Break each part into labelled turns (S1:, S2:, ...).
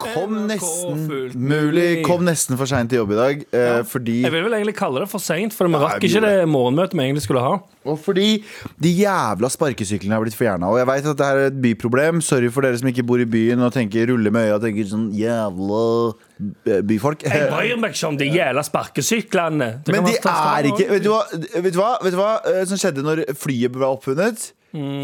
S1: Kom
S2: NRK
S1: nesten
S2: fullt
S1: mulig.
S2: mulig.
S1: Kom nesten for seint til jobb i dag. eh, fordi,
S2: Jeg vil vel egentlig kalle det for seint, for vi rakk
S1: vi
S2: ikke
S1: gjorde
S2: det morgenmøtet vi egentlig skulle ha.
S1: og fordi de jævla sparkesyklene har blitt fjerna. Og jeg veit at det her er et byproblem. Sorry for dere som ikke bor i byen og tenker ruller med øya og tenker sånn jævla eh, byfolk.
S2: Jeg bryr meg ikke om
S3: eh,
S2: de jævla sparkesyklene. Det kan
S1: Men de
S2: være ta
S1: er
S2: strøm
S1: ikke
S2: også.
S1: Vet du hva, vet du hva, vet du hva eh, som skjedde når flyet ble oppfunnet?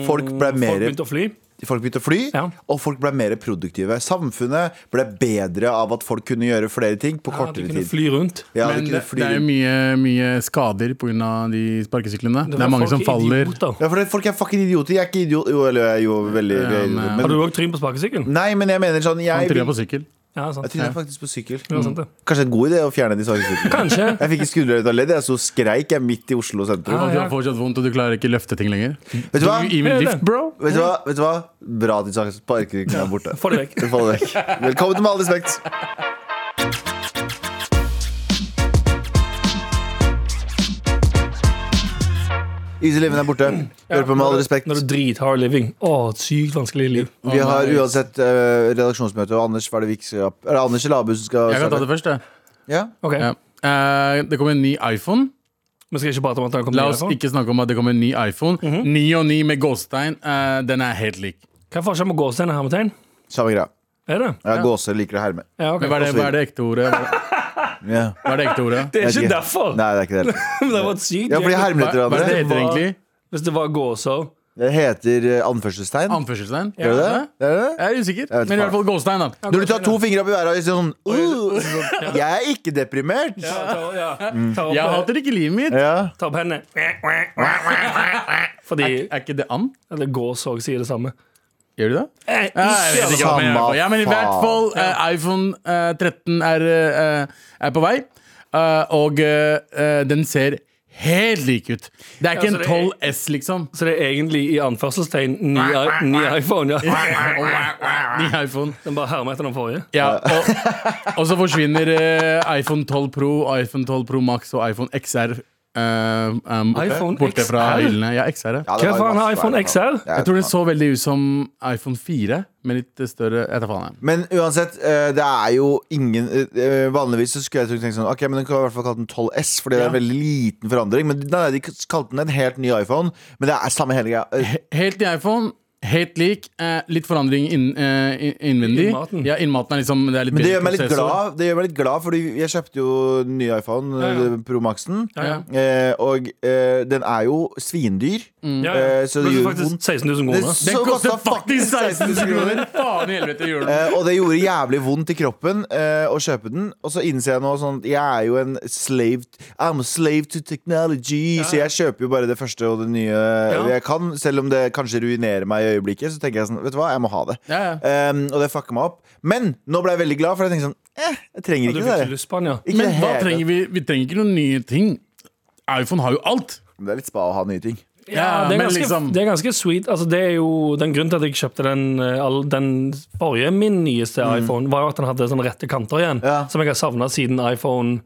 S1: Folk ble
S2: Mm, Folk
S1: mer
S2: begynte å fly.
S1: Folk begynte å fly,
S2: Ja.
S1: og folk ble mer produktive. Samfunnet ble bedre av at folk kunne gjøre flere ting på
S2: Ja, de
S1: kortere
S2: kunne
S1: tid.
S2: fly rundt.
S1: Ja, de
S3: Men
S1: kunne
S3: det,
S1: fly
S3: det er jo
S1: rundt.
S3: mye, mye skader pga. de sparkesyklene. Det,
S2: var
S3: er mange
S2: folk
S3: som faller.
S2: idioter.
S1: Ja, for det, folk er fucking idioter. Jeg er ikke idiot Jo, eller jeg er jo veldig
S3: Ja,
S1: veldig-
S3: men-
S1: men,
S2: Har du òg tryn på sparkesykkelen?
S1: Nei, men jeg mener sånn
S3: Han
S1: Jeg,
S3: tryner
S1: vil-
S3: på sykkel.
S2: Ja, sant.
S1: jeg tryner faktisk på sykkel.
S2: Ja, sant det.
S1: Kanskje en god idé å fjerne de sparkesyklene.
S2: Kanskje.
S1: Jeg fikk skuldrene ut av ledd. Jeg så skreik jeg midt i Oslo
S2: Ja,
S1: sentrum.
S3: Og du har fortsatt vondt, og du klarer ikke løfte ting lenger.
S1: Vet du hva?
S3: Even
S2: Hør det.
S3: lift, bro.
S1: Vet du hva? Vet du hva? Bra at de sparkesyklene er borte.
S2: Få det vekk.
S1: Få det vekk. Velkommen til Med all respekt. Easy Living er borte. Hør på Med all respekt.
S2: Når du drithard living. Å, et sykt vanskelig liv.
S1: Vi har uansett eh, redaksjonsmøte, og Anders, hva er det vi ikke skal Er det Anders eller Abu som skal
S3: Jeg kan ta det først, jeg.
S1: Ja?
S2: Ok,
S3: Ja. Eh, det kommer en ny iPhone.
S2: Vi skal ikke prate om at det har kommet sånn. ny iPhone.
S3: La oss
S2: Mhm.
S3: ikke snakke om at det kommer en ny iPhone. 9 og 9 med gåstein. eh, den er helt lik.
S2: Hva er forskjellen på gåstein og hermetegn?
S1: Samme greia.
S2: Er det?
S1: Ja, Gåse liker å herme.
S2: Ja, ok.
S3: Men hva er det, hva er det ekte ordet? Hva
S1: Ja.
S3: hva er det ekte ordet?
S2: Det er
S1: Jeg
S2: ikke
S1: vet ikke.
S2: derfor!
S1: Nei, det er ikke det. heller.
S2: Men det var et sykt
S1: Ja, for de
S2: jævlig-
S1: hermer etter
S3: Hva er det det
S1: hverandre.
S3: heter egentlig?
S2: Hvis det var gåser
S1: Det heter eh, anførselstegn.
S3: Anførselstegn?
S1: Gjør det det? det? er det?
S3: Jeg er usikker,
S1: vet
S3: men i
S1: faen.
S3: hvert fall gåstein. da
S1: Når du tar to fingre opp i været og sier sånn uh, sånn, Jeg er ikke deprimert!
S2: Ja, ta, ja. Ta opp,
S3: Jeg hater ikke livet mitt.
S1: Ja.
S2: ta opp hendene. Fordi
S3: Er ikke det and?
S2: Eller gås òg sier det samme.
S3: Gjør du det?
S2: Eh,
S3: Ja, jeg vet ikke hva jeg mener i hvert fall. Ja, men i hvert fall eh, iPhone eh, 13 er, eh, er på vei. Eh, og eh, eh, den ser helt lik ut. Det er
S2: Ja, så
S3: ikke en
S2: det er-
S3: 12S, liksom.
S2: Så det er egentlig i anførselstegn ny, i- ny iPhone. ja
S3: Ny iPhone.
S2: Den bare hermer etter den forrige.
S3: Ja, og, og så forsvinner eh, iPhone 12 Pro, iPhone 12 Pro Max og iPhone XR eh, um, borte,
S2: iPhone
S3: borte fra
S2: XR?
S3: hyllene. Ja, XR. Ja.
S1: Ja, det var
S2: Hva
S1: jo
S2: faen har
S1: masse
S2: iPhone
S1: feil.
S2: XR?
S1: Ja,
S3: Jeg tror den så veldig ut som iPhone 4, med litt større Jeg vet da faen. jeg.
S1: Men uansett, eh, det er jo ingen eh, eh, Vanligvis så skulle jeg tenkt sånn Ok, men den kan i hvert fall kalt den 12S, fordi det er en veldig liten forandring. Men nei, de kalte den en helt ny iPhone, men det er samme hele greia. Eh,
S3: Helt ny iPhone, helt lik. Eh, litt forandring inn, eh, inn- innvendig.
S2: Innmaten.
S3: Ja, innmaten er liksom Det er litt
S1: Men det
S3: bedre
S1: gjør meg litt
S3: prosessor.
S1: glad, det gjør meg litt glad Fordi jeg kjøpte jo den nye iPhone,
S2: ja.
S1: eh, Pro Maxen.
S2: Ja,
S1: Eh, og eh, den er jo svindyr.
S2: ja.
S1: Eh, så det
S2: Men
S1: gjør
S2: faktisk
S1: vondt.
S2: 16 000 kroner.
S1: Det-
S3: Den
S1: Så
S3: koster
S1: kostet
S3: faktisk
S1: faktisk
S3: 16 000 kroner! Faen i helvete, gjør den
S1: Eh, og det gjorde jævlig vondt i kroppen eh, å kjøpe den. Og så innser jeg nå sånn at jeg er jo en slave I'm a slave to technology. Så jeg kjøper jo bare det første og det nye jeg kan. Selv om det kanskje ruinerer meg i øyeblikket, så tenker jeg sånn Vet du hva, jeg må ha det.
S3: Ja, ja.
S1: Eh, og det fucker meg opp. Men nå ble jeg veldig glad, for jeg tenkte sånn eh, Jeg trenger
S2: Du
S1: ikke
S2: fikk
S1: det.
S2: ikke
S1: der.
S2: lyst på den, ja.
S1: Ikke
S3: Men
S1: det
S3: hva
S1: hele.
S3: trenger vi? Vi trenger ikke noen nye ting. iPhone har jo alt.
S1: Det er litt spa å ha nye ting.
S2: Ja, det, er
S3: men
S2: ganske,
S3: liksom-
S2: det er ganske sweet. Altså, det er jo den Grunnen til at jeg kjøpte den, eh, all, den forrige min nyeste
S3: Mm.
S2: iPhone, var jo at den hadde sånne rette kanter igjen,
S1: Ja.
S2: som jeg har savna siden iPhone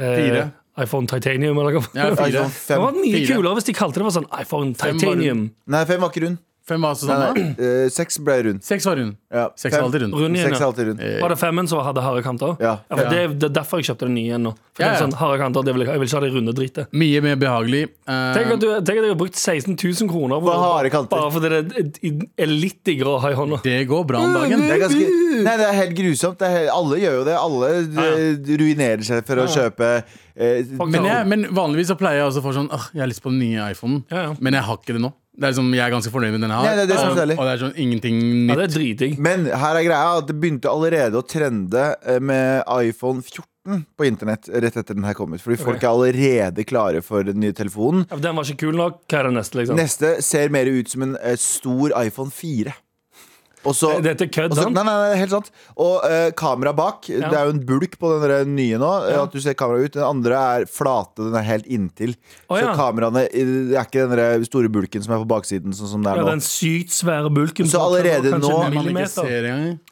S2: eh,
S3: Fire.
S2: iPhone Titanium. Eller hva.
S3: Ja, fire.
S1: iPhone
S2: det
S1: 5.
S2: var mye
S3: Fire.
S2: kulere hvis de kalte det for sånn iPhone
S3: Fem var
S2: Titanium.
S1: Nei, fem var ikke rund.
S3: Fem var altså
S1: Nei,
S3: sånn, da.
S1: nei. eh, seks ble rund.
S3: Seks var rund.
S1: Ja,
S3: Seks
S1: fem-
S3: var alltid rund.
S2: Rund Sånn igjen,
S1: Seks er
S2: ja.
S1: alltid rund.
S2: Var det femmen som hadde harde kanter?
S1: Ja.
S2: for
S3: Ja.
S2: Det, er, det er derfor jeg kjøpte den nye igjen nå. For
S3: Ja,
S2: det
S3: ja.
S2: er sånn harde kanter, det vil jeg, ha. jeg vil ikke ha det runde dritet.
S3: Mye mer behagelig. Eh,
S2: Tenk at, du, tenk at jeg har brukt 16 000 kroner på
S1: På harde kanter.
S2: bare fordi det er- er litt diggere å ha i hånda.
S3: det går bra om dagen.
S1: Mm, Det er ganske,
S2: Uhuh!
S1: nei, det er helt grusomt. Det er, he- alle gjør jo det. Alle eh, ruinerer seg for å kjøpe eh,
S2: Mm.
S3: Men, jeg, men vanligvis så pleier jeg også å få sånn Åh, jeg har lyst på den nye iPhonen,
S2: Ja, ja.
S3: men jeg har ikke det nå. Det er liksom, Jeg er ganske fornøyd med den jeg har.
S1: Nei, det er det som er
S3: og,
S1: deilig.
S3: og det er sånn ingenting
S2: Ja,
S3: nytt.
S2: det er dritdigg.
S1: Men her er greia at det begynte allerede å trende eh, med iPhone 14 på internett rett etter den her kom ut. Fordi folk er allerede klare for den nye telefonen.
S2: Ja, for Den var ikke kul nok. Hva er det neste, liksom?
S1: Neste ser mer ut som en eh, stor iPhone 4. Og så,
S2: Det- dette er kødd,
S1: og så-
S2: sant?
S1: Nei, nei, nei, helt sant. Og eh, kamera bak. Det er jo en bulk på den der nye nå. eh,
S2: Ja.
S1: At du ser kamera ut Den andre er flate. Den er helt inntil.
S2: Å, ja.
S1: Så kameraene i- Det er ikke den der store bulken som er på baksiden, sånn som det er
S2: Ja,
S1: nå.
S2: den sykt svære bulken.
S1: Så
S2: på
S1: allerede
S2: kanskje
S1: nå-
S2: en
S3: Man ikke
S2: millimeter.
S3: ser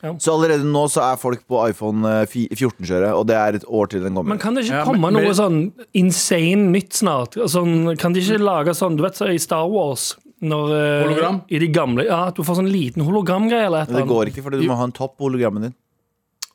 S3: engang.
S1: Så allerede nå så er folk på iPhone 14-kjøret, og det er et år til den kommer.
S2: Men kan det ikke
S3: Ja,
S2: komme
S3: men-
S2: noe
S3: men-
S2: sånn insane nytt snart? Sånn, kan de ikke lage sånn, du vet så i Star Wars når, eh,
S3: Hologram?
S2: I de gamle, ja, at du får sånn liten hologramgreie eller et
S1: Men det
S2: eller annet.
S1: går ikke, fordi du må ha en topp på hologrammen din.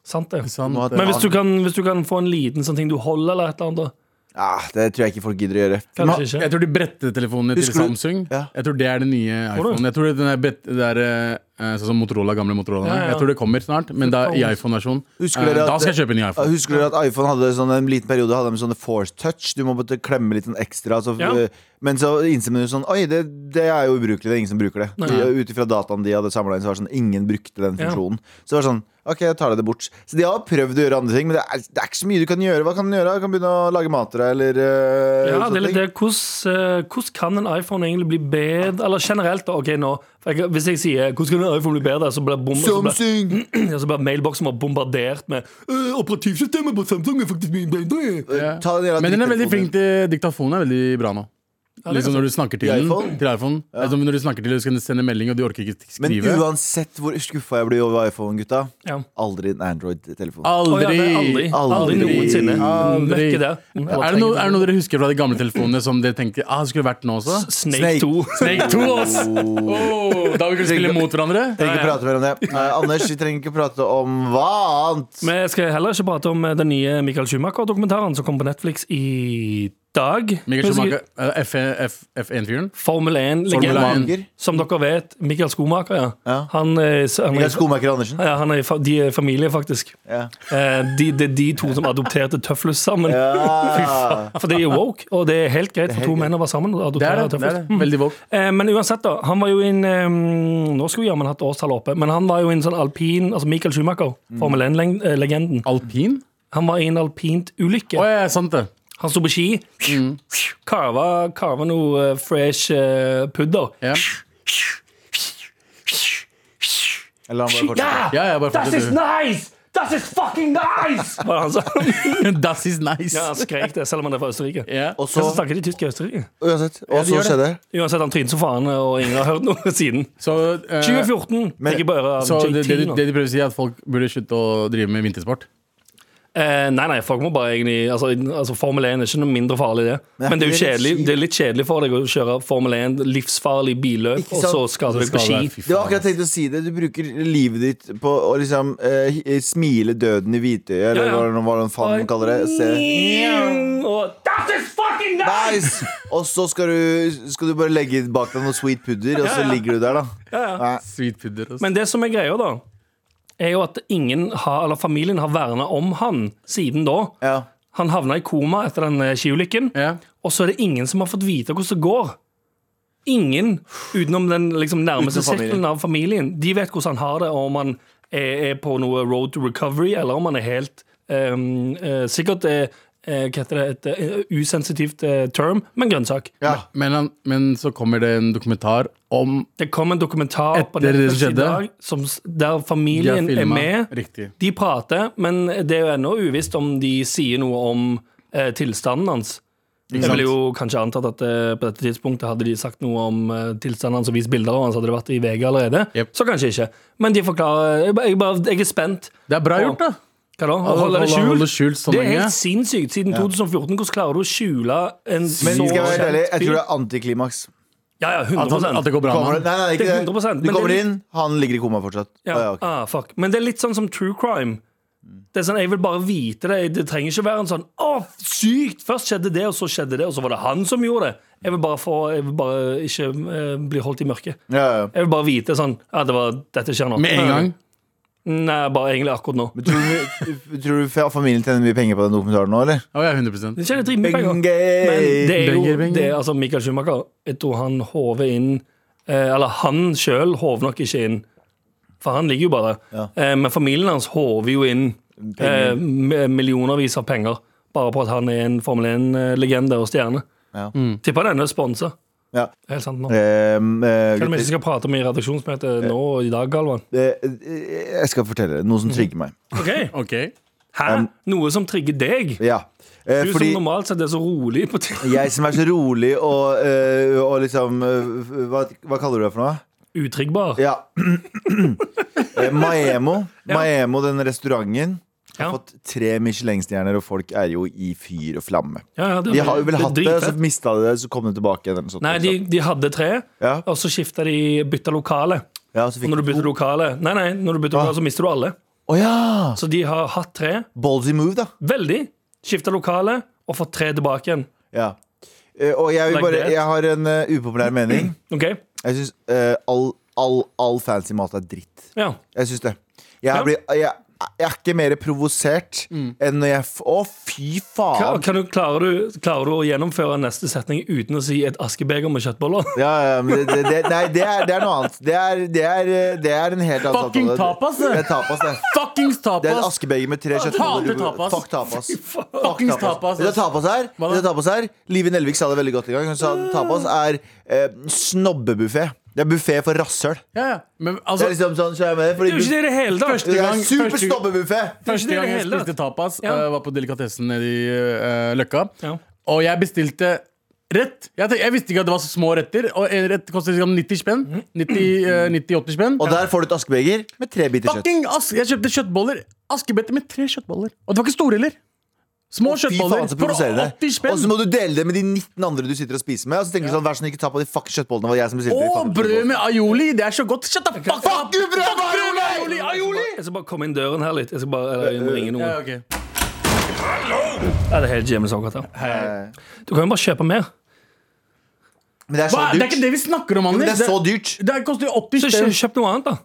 S2: Sant det.
S3: Sant.
S1: Nå at-
S2: Men hvis du, kan, hvis du kan få en liten sånn ting du holder eller et eller annet,
S1: Ah, det tror jeg ikke folk gidder å gjøre.
S3: Ma-
S2: kanskje
S3: Jeg
S2: ikke.
S3: tror de brettetelefonene til
S1: Husker du-
S3: Samsung
S1: Ja.
S3: Jeg tror det er den nye
S2: Tror du?
S3: iPhone Jeg tror det er, bet- det er eh, sånn som Motorola, gamle Motorola
S2: Ja, ja, ja.
S3: Jeg tror det kommer snart, men da i iPhone-versjon
S1: Husker
S3: eh,
S1: dere at-
S3: Da skal jeg kjøpe en ny
S1: Ja,
S3: iPhone
S1: Husker dere at iPhone hadde sånn, en liten periode hadde de sånne force touch? Du må bare klemme litt sånn ekstra. Så,
S2: Ja.
S1: eh, Men så innser man jo sånn Oi, det, det er jo ubrukelig. Det er ingen som bruker det. De- Ut ifra dataen de hadde samla inn, så var det sånn ingen brukte den
S2: Ja.
S1: funksjonen. Så det var sånn OK, jeg tar det bort. Så de har prøvd å gjøre andre ting, men det er, det er ikke så mye du kan gjøre. Hva kan du gjøre? Du kan begynne å lage mat til deg, eller eh,
S2: Ja,
S3: sånn
S1: sånne
S2: det er litt
S1: ting.
S2: det. Hvordan, eh, hvordan kan en iPhone egentlig bli bedre? Eller generelt, da, ok nå for jeg, Hvis jeg sier 'hvordan kan en iPhone bli bedre', så blir bom- så blir-
S1: Samsung!
S2: ja, så blir Altså, mailboksen vår bombardert med «Øh, 'operativsystemet på Samsung er faktisk mye bedre'.
S3: Ja.
S1: Eh, Ta den jævla
S3: Men den er
S1: drittelefonen
S3: veldig flink
S1: din.
S3: til Diktafonen er veldig bra nå
S2: det er
S3: Liksom når du snakker til
S1: I
S3: den
S1: iPhone?
S3: Til iPhone Det er som Når du snakker til den, så kan du sende melding Og du orker ikke
S1: Men
S3: skrive
S1: uansett hvor skuffa jeg blir over iPhone, gutta,
S2: Ja.
S1: aldri en Android-telefon.
S2: Å, ja,
S3: Aldri
S2: det er aldri, aldri,
S1: Aldri.
S2: noensinne.
S3: Aldri.
S2: Møkk i det.
S3: Er det, noe, er det noe dere husker fra de gamle telefonene Som dere tenker, ah, det skulle vært nå også
S2: Snake 2.
S3: Snake 2 ass Åh, Da vi kunne spille mot hverandre
S1: Trenger ikke prate mer om det. Nei, Anders, vi trenger ikke prate om hva annet.
S2: Vi skal heller ikke prate om eh, den nye Michael Schumacher-dokumentaren som kom på Netflix i dag.
S3: Michael Schumacher, eh, F- F- F1-fyren.
S2: Formel 1,
S3: Formel
S2: legenden.
S3: 1.
S1: Skomaker.
S2: Som dere vet, Michael Skomaker, ja.
S1: Ja.
S2: Han, eh, s- han,
S1: Mikael
S2: er,
S1: Skomaker Andersen.
S2: ja, han er, i fa- de er familie, faktisk.
S1: Ja.
S2: Eh, de- Det er de to som adopterte Tøflus sammen. For det er jo woke, og det er helt greit for to menn å være sammen. og
S3: Det
S2: adoptere
S3: er det. det, er
S2: Tøflus.
S3: det. Veldig woke.
S2: Eh, Men uansett, da. Han var jo i en eh, Nå skulle jammen hatt årstallet oppe, men han var jo i en sånn alpin Altså Michael Schumacher,
S3: Mm.
S2: Formel 1-legenden.
S3: Alpin?
S2: Han var i en alpint ulykke.
S3: Å ja, Mm. sant det.
S2: Han sto på ski, karva, karva noe eh, fresh eh, pudder.
S3: Ja,
S1: Eller han bare fortsetter.
S3: ja, ja bare
S2: That is
S3: fortsett.
S2: nice! That is fucking nice! Var det han sa.
S3: du. That is
S2: ja, han
S3: nice.
S2: skrek det, selv om han er fra Østerrike.
S3: Ja.
S1: Og så,
S2: Men så snakker de tysk i Østerrike.
S1: uansett, og så
S3: gjør det.
S1: skjedde det.
S2: Uansett, han trynet så faen, og ingen har hørt noe siden.
S3: Så, eh,
S2: 2014
S1: men-
S2: fikk jeg bare av
S3: så det, det,
S2: JT
S3: du-
S2: nå.
S3: det de prøver å si, er at folk burde slutte å drive med vintersport?
S2: Eh, nei, nei, folk må bare egentlig altså, altså Formel 1 er ikke noe mindre farlig, det.
S1: Nei,
S2: Men det er jo
S1: det er litt
S2: kjedelig,
S1: kjipt.
S2: det er litt kjedelig for deg å kjøre Formel 1, livsfarlig billøp,
S1: Ikke
S2: og så
S1: sant?
S2: skader du deg på ski.
S3: Fy
S1: Det var
S3: faen.
S1: akkurat tenkt å si det. Du bruker livet ditt på å liksom eh, hi- smile døden i hvitøyet, eller
S2: Ja, ja.
S1: hva det- hva det faen man kaller det. Se.
S2: Og that is fucking nice!
S1: Nice! Og så skal du, skal du bare legge bak deg noe sweet pudder, og så ligger du der, da.
S3: Sweet pudder. ass.
S2: Men det som er greia, da, er jo at ingen har, eller familien har verna om han siden da.
S1: Ja.
S2: Han havna i koma etter den eh, skiulykken,
S3: Ja.
S2: og så er det ingen som har fått vite hvordan det går. Ingen utenom den liksom, nærmeste
S1: Utenom familien.
S2: sirkelen av familien. De vet hvordan han har det, og om han er, er på noe road to recovery, eller om han er helt ehm, eh, Sikkert eh, eh, hva heter det, et eh, usensitivt eh, term, men grønnsak.
S1: ja.
S3: Men, han, men så kommer det en dokumentar om
S2: Det kom en dokumentar på
S3: Etter det
S2: Netflix i
S3: skjedde?
S2: dag som, s- der
S3: de har
S2: familien er
S3: filmet.
S2: med.
S3: Riktig.
S2: De prater, men det er jo ennå uvisst om de sier noe om eh, tilstanden hans. Jeg
S3: sant?
S2: ville jo kanskje antatt at eh, på dette tidspunktet hadde de sagt noe om eh, tilstanden hans og vist bilder av han, så hadde det vært i VG allerede.
S3: Jep.
S2: Så kanskje ikke. Men de forklarer eh, Jeg, bare- jeg, bare, jeg er spent.
S3: Det er bra
S2: Å,
S3: gjort, da.
S2: Hva da? Å
S3: Å
S2: holde det
S3: holde- holde
S2: skjult?
S3: det skjult så
S2: Det er
S3: lenge.
S2: helt sinnssykt. Siden 2014, hvordan klarer du å skjule
S1: Men
S2: en så
S1: skal jeg være helt ærlig,
S2: kjent
S1: jeg tror
S2: fyr?
S1: det er antiklimaks.
S2: Ja, ja,
S3: At, han,
S2: 100
S3: at det går bra
S1: Kommer
S3: med
S1: det-
S3: han.
S1: Nei, nei,
S2: Det
S1: ikke
S2: er 100%,
S1: det. Du
S2: men
S1: kommer
S2: det-
S1: inn, han ligger i koma fortsatt.
S2: Ja.
S1: Å, ja, ok.
S2: ah, fuck. Men det er litt sånn som true crime. Det er sånn, Jeg vil bare vite det. Det trenger ikke være en sånn Å, sykt! Først skjedde det, og så skjedde det, og så var det han som gjorde det. Jeg vil bare, få, jeg vil bare ikke eh, bli holdt i mørket.
S1: Ja, ja.
S2: Jeg vil bare vite sånn Ja, det var, dette skjer nå. Eh,
S3: Med en gang.
S2: Nei, bare egentlig akkurat nå.
S1: Men tror du, tror du fa- familien tjener mye penger på den dokumentaren nå, eller?
S3: Å ja, 100
S2: Det tjener dritmye penger. Men det er jo
S3: Penger, penger.
S2: det, er altså Michael Schumacher Jeg tror han håver inn eh, Eller han sjøl håver nok ikke inn, for han ligger jo bare der. Eh, men familien hans håver jo inn eh, m- millionervis av penger bare på at han er en Formel 1-legende eh, og stjerne.
S1: Ja.
S2: Tipper den er sponsa.
S1: Ja.
S2: Det er helt sant nå.
S1: Ehm, eh,
S2: Hva er det vi
S1: gutter,
S2: ikke skal prate om i redaksjonsmøtet nå og i dag, Galvan?
S1: eh, eh, jeg skal fortelle dere noe som trigger meg.
S2: Ok,
S3: OK.
S2: Hæ? Noe som trigger deg?
S1: Um, Ja. Eh,
S2: Du
S1: fordi
S2: som normalt sett er så rolig på ting.
S1: jeg som er så rolig og, eh, og liksom eh, hva, hva kaller du det for noe?
S2: Utriggbar.
S1: Ja. Eh, Maemo. Maemo, den restauranten, har
S2: Ja.
S1: fått tre Michelin-stjerner, og folk er jo i fyr og flamme.
S2: Ja, ja, det-
S1: De har jo vel
S2: det er
S1: hatt det, og så
S2: dritfett.
S1: mista de det, så kom de tilbake igjen. eller noe sånt,
S2: Nei, de,
S1: liksom.
S2: de hadde tre,
S1: ja.
S2: og så skifta de bytta lokale.
S1: Ja, og så
S2: Og
S1: fikk
S2: når du bytter lokale Nei, nei, når du bytter
S1: Ah.
S2: lokale, så mister du alle.
S1: Å ja!
S2: Så de har hatt tre.
S1: Ballsy move, da.
S2: Veldig. Skifta lokale og fått tre tilbake igjen.
S1: Ja. Eh, og jeg, vil
S2: Like
S1: bare,
S2: that.
S1: jeg har en eh, upopulær mening.
S2: OK?
S1: Jeg syns all, all, all fancy mat er dritt.
S2: Ja.
S1: Jeg syns det.
S2: Ja. Mm.
S1: Jeg, blir, jeg, jeg er ikke mer provosert enn når jeg f- Å, fy
S2: Ka-
S1: faen!
S2: Kan du, klarer, du, klarer du å gjennomføre neste setning uten å si et askebeger med kjøttboller?
S1: Ja, ja, men det, det, det, nei, det er, det er noe annet. Det er, det er, eh, det er en helt annen
S3: Fucking
S1: samtale.
S3: tapas, det.
S1: det. er tapas, det.
S3: Fuckings
S1: Det er en
S3: tapas!
S1: askebeger med tre
S3: Hater
S1: kjøttboller. Du-
S3: tapas.
S1: Fuck tapas.
S3: Fuckings tapas.
S1: Tapas. Det er tapas her.
S3: Hva da? Mm.
S1: Det er tapas her. Live Nelvik sa det veldig godt en gang. Hun sa tapas er eh, snobbebuffé. Det er buffé for rasshøl.
S3: Ja, ja. Men
S1: Det
S3: altså,
S1: er liksom sånn, så er jeg med,
S2: Det er jo
S1: fordi
S2: ikke det i det hele tatt!
S3: Første
S1: det
S3: gang-
S1: er super
S3: første-
S1: snobbebuffé.
S3: første
S2: det
S3: gang jeg
S2: hele tatt.
S3: spiste tapas,
S2: Ja.
S3: eh, var på delikatessen nede i eh, Løkka.
S2: Ja.
S3: Og jeg bestilte rett. Jeg, tenkte, jeg visste ikke at det var så små retter. Og en rett kostet sånn 90 spenn.
S2: Mm.
S3: 90, eh, 90-80 spenn.
S1: Og der får du et askebeger med tre biter kjøtt.
S3: Fucking ask, jeg kjøpte kjøttboller. Askebeter med tre kjøttboller. Og det var ikke store heller. Små
S1: Fy faen, så
S3: kjøttboller for
S1: provoserende.
S3: 80
S1: Og så
S3: spenn.
S1: må du dele det med de 19 andre du sitter og spiser med. Og så tenker du sånn, vær så snill, ikke ta på de fucking kjøttbollene. Det var jeg som bestilte de
S3: Og
S1: fucking
S3: brød
S1: kjøttbollene.
S3: med aioli. Det er så godt. Shut the fuck
S1: Fuck you, brød med
S3: aioli!
S1: aioli!
S3: Aioli!
S2: Jeg skal bare komme inn døren her litt. Jeg skal bare, eller, jeg må ringe
S3: Ja,
S2: noen.
S3: ok.
S2: Ja, det er helt jævlig sånn, gutter. Du kan jo bare kjøpe mer.
S1: Men det er så
S3: Hva? Det er
S1: dyrt.
S3: ikke det vi snakker om,
S1: Men
S3: Anders.
S1: det er så dyrt.
S3: Det koster jo 80
S2: Så kjø-
S3: spenn.
S2: kjøp noe annet, da.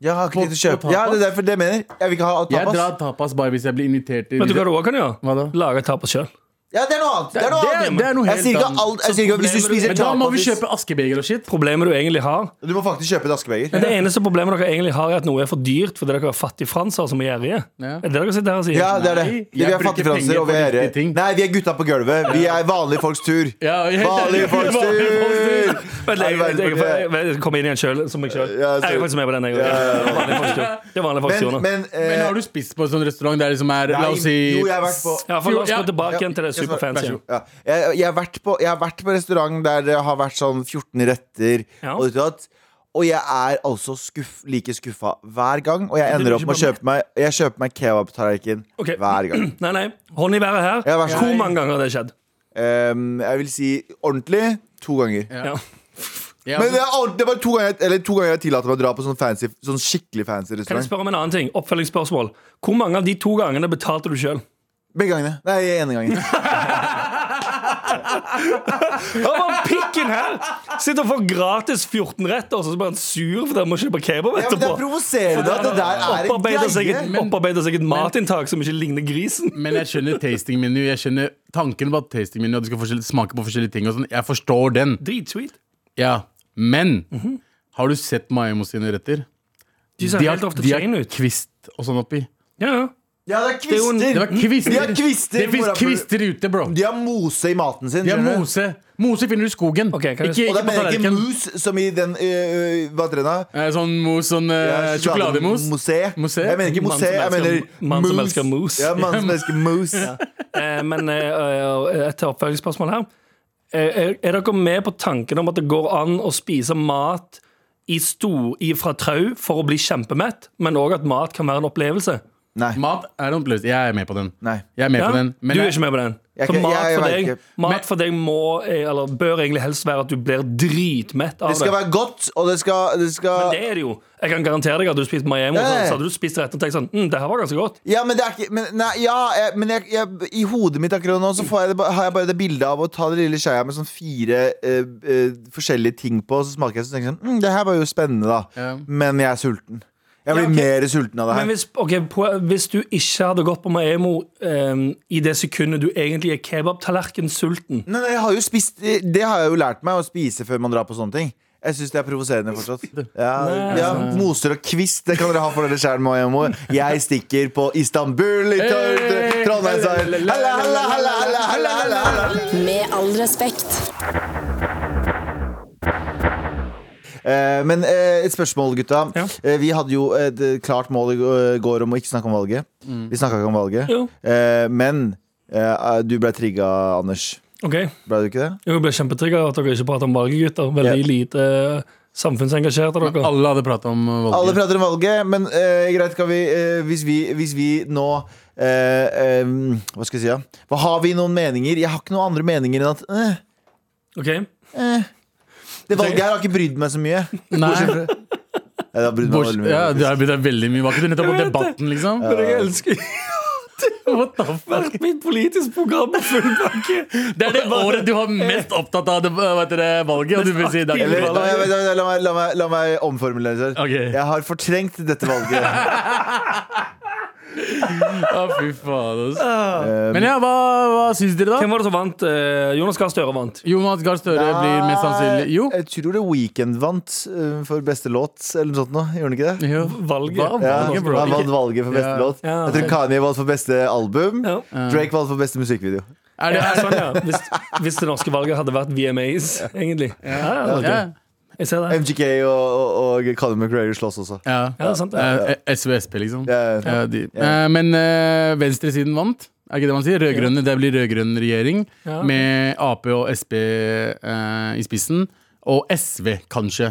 S1: Jeg har ikke tid til å kjøpe. Ja, det er derfor det jeg mener. Jeg vil ikke ha
S3: Jeg
S1: tapas.
S3: drar tapas bare hvis jeg blir invitert til
S2: Vet du hva du òg kan gjøre?
S3: Hva da?
S2: Lage tapas sjøl.
S1: Ja, det er noe annet. Det er noe
S3: Det-
S1: annet.
S3: det er noe
S1: Jeg
S3: helt
S1: sier ikke
S3: annet.
S1: alt. Jeg sier ikke at hvis du
S2: Så problemet-
S1: spiser
S3: Men da må vi
S1: tapas
S3: kjøpe askebeger og shit.
S2: Problemet du egentlig har
S1: Du må faktisk kjøpe et askebeger.
S2: Men Det eneste problemet dere egentlig har, er at noe er for dyrt fordi dere er fattigfransere som er gjerrige.
S3: Ja.
S2: Er det dere sitter her og sier?
S1: Ja, det er det.
S3: Nei,
S1: Vi
S3: jeg
S1: er
S3: bruker
S1: fattigfranser,
S3: penger
S1: og vi
S3: på
S1: er
S3: riktige ting.
S1: Nei, vi er gutta på gulvet. Vi er vanlige folks tur.
S3: Ja, helt
S1: Vanlige
S3: ærlig.
S1: folks
S3: Vanlige folks tur.
S1: tur!
S2: Vent, jeg, jeg, jeg, jeg, jeg, jeg kommer inn igjen selv, som meg sjøl.
S1: Ja, så-
S2: Jeg er faktisk med på den, jeg òg. Det er vanlig folks tur
S1: Men,
S2: nå.
S1: men,
S3: Men
S1: eh,
S3: har du spist på en sånn restaurant der liksom er La
S1: nei,
S3: oss si
S1: Jo, jeg har vært på
S2: Ja, for La oss
S3: Ja.
S2: gå tilbake igjen til det
S1: Ja, jeg svarer.
S2: superfancy.
S3: Vær så god.
S1: ja. jeg, jeg, har vært på, jeg har vært på restaurant der det har vært sånn 14 retter.
S2: Ja.
S1: Og, ditt og, datt. og jeg er altså skuff, like skuffa hver gang. Og jeg
S2: Men det
S1: ender
S2: blir
S1: opp
S2: ikke
S1: med å
S2: bare
S1: kjøpe meg Jeg kjøper meg kebabtallerken
S2: Ok.
S1: hver gang.
S2: Nei, nei. Hånd i været her.
S1: Ja, vær så god.
S2: Hvor mange ganger har det skjedd?
S1: Em, Ehm, jeg vil si ordentlig to ganger.
S3: Ja.
S2: Ja.
S3: altså- Ja,
S1: Men det er ordentlig- det var to ganger, jeg- eller to ganger jeg tillater meg å dra på sånn, fancy, sånn skikkelig fancy
S2: Kan jeg
S1: restaurant.
S2: spørre om en annen ting? Oppfølgingsspørsmål. Hvor mange av de to gangene betalte du sjøl?
S1: Begge gangene. Nei, ene gangen.
S2: Hør på pikken her! Sitter og får gratis 14 retter, og så blir han sur fordi han må kjøpe
S1: Ja, men
S2: kebab
S1: det er
S2: etterpå.
S1: provoserende at det der er en
S2: Opparbeider seg et,
S1: greie.
S2: opparbeider seg et matinntak som ikke ligner grisen.
S3: Men jeg skjønner tasting menu. Jeg skjønner tanken på at tasting menu At du skal forskjell- smake på forskjellige ting. Og sånn. jeg forstår den.
S2: Dritsweet.
S3: Ja, Men har du sett Maimo sine retter?
S2: De ser helt ofte
S3: de har
S2: chain ut.
S3: kvist og sånn oppi.
S2: Ja, ja.
S1: Ja, det er
S2: er jo en-
S3: Det
S1: kvister.
S3: var kvister.
S1: De har kvister,
S3: Det fins
S1: mora-
S3: kvister ute, bro.
S1: De har mose i maten sin.
S3: De har
S1: skjønner du?
S3: mose. Mose finner du i skogen.
S2: Ok, kan jeg-
S3: ikke,
S1: Og
S3: ikke
S1: da
S3: på
S1: mener jeg ikke
S3: tallerkenen.
S1: mus, som i den øh, Hva heter den da?
S3: Eh, Sånn mos, sånn eh, sjokolademos.
S1: Mosé.
S3: Mosé?
S1: Jeg mener ikke
S2: Mann som
S1: mosé, jeg mener
S2: elsker- mann som
S1: mus.
S2: elsker mus.
S1: Ja, mann som elsker mus.
S2: Eh, Men eh, eh, et oppfølgingsspørsmål her. Eh, Er er dere med på tanken om at det går an å spise mat i stor, i fra trau for å bli kjempemett, men òg at mat kan være en opplevelse?
S1: Nei.
S3: Mat er en opplevelse. Jeg er med på den.
S1: Nei.
S3: Jeg er med
S2: Ja?
S3: på den. Men
S2: du er
S3: jeg-
S2: ikke med på den?
S1: Jeg
S2: Så
S1: kan-
S2: mat,
S1: jeg
S2: for
S1: vet
S2: deg,
S1: ikke.
S2: mat for deg må, eh, eller bør egentlig helst være at du blir dritmett av
S1: Det skal
S2: det.
S1: være godt, og det skal, det skal
S2: Det er det jo. Jeg kan garantere deg at du spiste Miami,
S1: Ja, ja.
S2: så hadde du spist rett og tenkt sånn mm, Det her var ganske godt.
S1: Ja, men det er ikke men, Nei, ja, jeg, men jeg, jeg, i hodet mitt akkurat nå Så får jeg det, ba- har jeg bare det bildet av å ta det lille skjeia med sånn fire eh, eh, forskjellige ting på, og så smaker jeg så tenker jeg sånn mm, Det her var jo spennende, da.
S3: Ja.
S1: Men jeg er sulten. Jeg blir
S2: Ja, ok.
S1: mer sulten av det
S2: Men
S1: her.
S2: hvis, ok, på- hvis du ikke hadde gått på Maemo eh, i det sekundet du egentlig er kebabtallerken-sulten
S1: Nei, nei, jeg har jo spist Det har jeg jo lært meg å spise før man drar på sånne ting. Jeg syns det er provoserende fortsatt. Ja, ja, moser og kvist, det kan dere ha for dere sjæl, Mayamo. Jeg stikker på Istanbul i
S3: Hey!
S1: Trondheimsøyen. Halla, halla, halla, halla, halla, halla, halla.
S4: Med all respekt.
S1: Eh, men eh, et spørsmål, gutta.
S2: Ja.
S1: Eh, vi hadde jo et eh, klart mål i gå- går om å ikke snakke om valget. Vi snakka ikke om valget.
S2: Jo.
S1: Eh, men eh, du ble trigga, Anders.
S2: OK.
S1: Ble du ikke det?
S2: Jeg ble kjempetrigga av at dere ikke prater om valget, gutter. Veldig
S1: Ja.
S2: lite samfunnsengasjert av dere.
S3: Alle hadde prata om eh, valget.
S1: Alle prater om valget, men eh, greit, kan vi, eh, hvis, vi, hvis vi nå eh, eh, Hva skal jeg si? da? Hva har vi noen meninger? Jeg har ikke noen andre meninger enn at eh,
S2: OK?
S1: det
S3: Altså,
S1: valget her har ikke brydd meg så mye.
S3: Nei,
S1: Ja, det har brydd meg
S3: Bors,
S1: veldig mye.
S3: ja, det har blitt veldig mye. Var ikke du nettopp på
S2: Jeg vet det.
S3: Debatten, liksom?
S2: Men jeg elsker
S3: What the fuck?
S2: hvert mitt politiske program med full pakke.
S3: Det er det året du var mest opptatt av det, hva heter det, valget, og du vil si det er
S1: Eller,
S3: ikke
S1: la,
S3: valget.
S1: meg- la, meg- la, meg- la, meg, la meg omformulere det.
S3: Ok.
S1: Jeg har fortrengt dette valget.
S3: Å, fy faen. ass.
S1: Eh,
S3: Men ja, hva, hva syns dere, da?
S2: Hvem var det som vant? Eh, Jonas Gahr Støre vant.
S3: Jonas Gahr Støre blir mest sannsynlig Jo.
S1: Jeg tror det Weekend vant eh, for beste låt, eller noe sånt. Nå. Gjorde han ikke det?
S3: jo.
S2: Valget.
S3: Hva?
S1: Ja,
S3: Valget,
S1: han
S3: bro.
S1: vant valget for beste
S3: Ja.
S1: låt.
S2: Ja.
S1: Jeg tror Kanye vant for beste album.
S2: Ja.
S1: Drake vant for beste musikkvideo.
S3: Er det,
S2: Ja,
S3: er,
S2: sånn, ja. Hvis, hvis det norske valget hadde vært VMAs, egentlig. Ja, ja, ok.
S3: ja.
S2: Jeg ser det.
S1: MGK og, og, og Colin McRae slåss også.
S2: Ja,
S3: ja.
S2: det er sant, det.
S3: Eh, SV og Sp, liksom.
S1: Ja, ja.
S3: Ja, de. Eh, men eh, venstresiden vant. Er ikke det man sier? Rødgrønne, Det blir rød-grønn regjering
S2: Ja.
S3: med Ap og Sp eh, i spissen. Og SV, kanskje.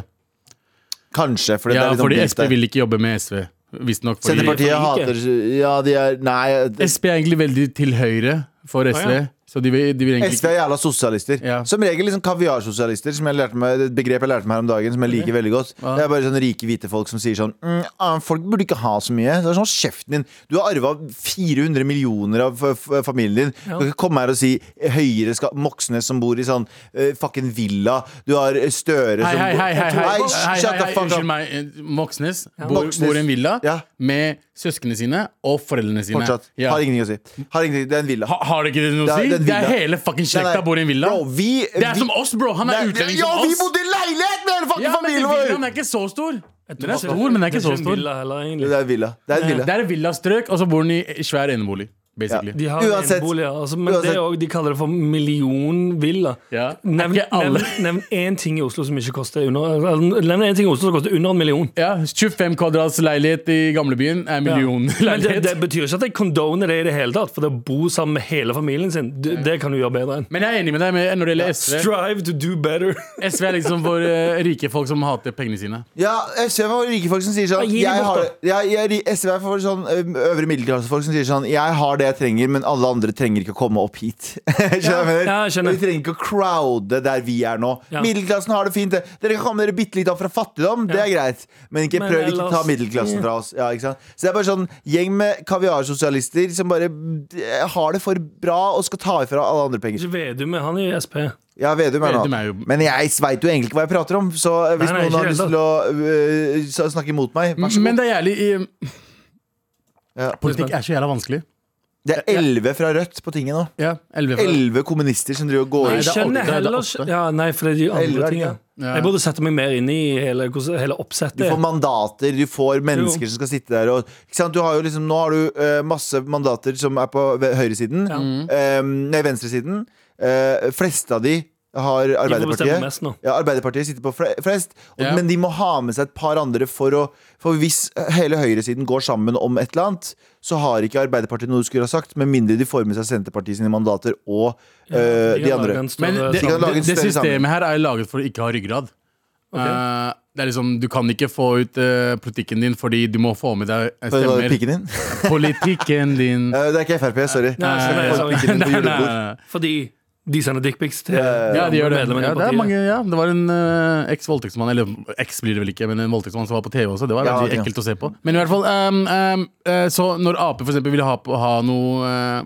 S1: Kanskje, for det
S3: Ja,
S1: er litt
S3: fordi
S1: omdelt
S3: SV
S1: der.
S3: vil ikke jobbe med SV. Visstnok. fordi-
S1: Senterpartiet
S2: Fordi-
S1: hater Ja, de er Nei. det-
S3: SP er egentlig veldig til høyre for SV.
S2: ja.
S3: Så de vil, de vil egentlig
S1: SV er jævla sosialister.
S3: Ja.
S1: Som regel liksom kaviarsosialister. Som jeg lærte meg, det er et begrep jeg lærte meg her om dagen, som jeg liker veldig godt. Det er bare sånne rike, hvite folk som sier sånn mm, ah, Folk burde ikke ha så mye. Så det er sånn kjeften din. Du har arva 400 millioner av f- f- familien din. Du kan ikke komme her og si høyere skal Moxnes som bor i sånn eh, fucking villa. Du har eh, Støre som
S3: Hei, hei, hei, hei, hei,
S1: Nei,
S3: hei,
S1: shut the
S3: hei,
S1: fuck
S3: unnskyld
S1: up.
S3: meg. eh, Moxnes bor,
S1: Moxnes.
S3: bor i en villa
S1: Ja.
S3: med søsknene sine og foreldrene sine.
S1: Fortsatt.
S3: Ja.
S1: Har ingenting å si. Har ingenting, det er en villa.
S3: Ha, har det ikke noe
S1: Det er-
S3: å si?
S1: det er en
S3: Det er
S1: villa.
S3: hele fucking
S1: Nei, nei.
S3: slekta bor i en villa.
S1: Bro, vi,
S3: Det er
S1: vi-
S3: som oss, bro! Han er
S1: Nei,
S3: utlending
S1: Ja,
S3: som
S1: vi
S3: oss.
S1: bodde i leilighet med hele fucking
S3: Ja, men den
S1: familien vår!
S3: villaen er ikke så stor. Den er stor,
S2: ikke-
S3: men den er ikke så
S2: en
S3: stor.
S2: villa heller, egentlig.
S1: Det er en villa. Det er en villa.
S3: Det er et villastrøk, og så bor den i svær enebolig. Basically.
S2: De har
S1: Uansett.
S2: eneboliger, altså, men
S1: Uansett.
S2: det er også, de kaller det for millionvilla.
S3: Ja. Er
S2: Nevn,
S3: ikke alle.
S2: nevn, nevn én ting i Oslo som ikke koster under eller, Nevn én ting i Oslo som koster under en million.
S3: Ja, 25 kvadrats leilighet i gamlebyen er
S2: Men det,
S3: millionleilighet.
S2: det betyr ikke at jeg condoner det i det hele tatt, for det å bo sammen med hele familien sin, det, det kan du gjøre bedre enn.
S3: Men jeg er enig med deg med, når det gjelder SV.
S2: Strive to do better.
S3: SV er liksom for eh, rike folk som hater pengene sine.
S1: Ja, SV er for rike folk som sier sånn
S2: Ja, gi det
S1: jeg
S2: bort,
S1: har, jeg, jeg, SV er for sånn ø, øvre middelklassefolk som sier sånn Jeg har det jeg trenger, men alle andre trenger ikke å komme opp hit. skjønner du hva jeg mener?
S2: Ja, jeg skjønner.
S1: Vi trenger ikke å crowde der vi er nå.
S2: Ja.
S1: Middelklassen har det fint. det. Dere kan komme dere bitte litt opp fra fattigdom, det er greit. Men ikke
S2: Men
S1: prøv ikke å ta
S2: ellers-
S1: middelklassen fra oss. Ja, ikke sant? Så det er bare sånn gjeng med kaviarsosialister som bare ø, har det for bra og skal ta ifra alle andre penger.
S2: Ikke Vedum, han er i SP.
S1: Ja, Vedum er
S3: Vedum
S1: nå.
S3: er jo-
S1: Men jeg veit jo egentlig ikke hva jeg prater om, så eh, hvis
S2: Nei, nei,
S1: noen har
S2: ikke
S1: lyst
S2: helt
S1: til å eh, så- snakke imot meg, vær så god.
S3: Men det er jævlig i,
S1: Ja.
S3: Politikk er så jævla vanskelig.
S1: Det er elleve fra Rødt på tinget nå.
S3: Ja, 11 for
S1: Elleve kommunister som driver og går
S2: Jeg
S3: det er
S1: ut.
S3: åtte,
S2: skjønner
S3: det er
S2: heller
S3: åtte.
S2: ikke Ja, nei, for det er de
S1: Elleve,
S2: andre
S1: er det
S2: tingene.
S1: ikke?
S3: Ja.
S2: Jeg burde sette meg mer inn i hele, hvordan- hele
S1: Du
S2: oppsettet.
S1: får mandater, du får mennesker
S2: Jo.
S1: som skal sitte der. Og, ikke sant? Du har jo liksom, nå har du eh, masse mandater som er på ve- høyresiden.
S2: Ja.
S1: eh, nei, venstresiden. Uh, fleste av de har
S2: De får bestemme
S1: Arbeiderpartiet.
S2: mest nå.
S1: Ja, Arbeiderpartiet sitter på fle- flest, og,
S3: Ja.
S1: men de må ha med seg et par andre. For, å, for hvis hele høyresiden går sammen om et eller annet, så har ikke Arbeiderpartiet noe de skulle ha sagt, med mindre de får med seg Senterpartiet sine mandater og eh, de andre.
S3: Men det,
S1: kan lage en
S3: det, det
S1: større sammenheng.
S3: systemet her er laget for å ikke ha ryggrad. Eh, det er liksom, Du kan ikke få ut eh, politikken din fordi du må få med deg eh,
S1: Hva var det,
S3: stemmer.
S1: Pikken din?
S3: Politikken din
S1: Eh, det er ikke Frp, sorry.
S3: Eh,
S2: Nei, så det er sånn-
S1: Pikken din på julebord.
S2: Fordi de sender dickpics til
S3: Ja, de gjør det.
S2: medlemmene
S3: Ja,
S2: i
S3: det, er
S2: partiet.
S3: mange, ja. det var en eh, eks-voldtektsmann, eller eks blir det vel ikke, men en voldtektsmann som var på TV også. Det var
S1: Ja,
S3: veldig
S1: ja.
S3: ekkelt å se på. Men i hvert fall, ehm, ehm, eh, så når Ap for eksempel ville ha, på- ha noe eh,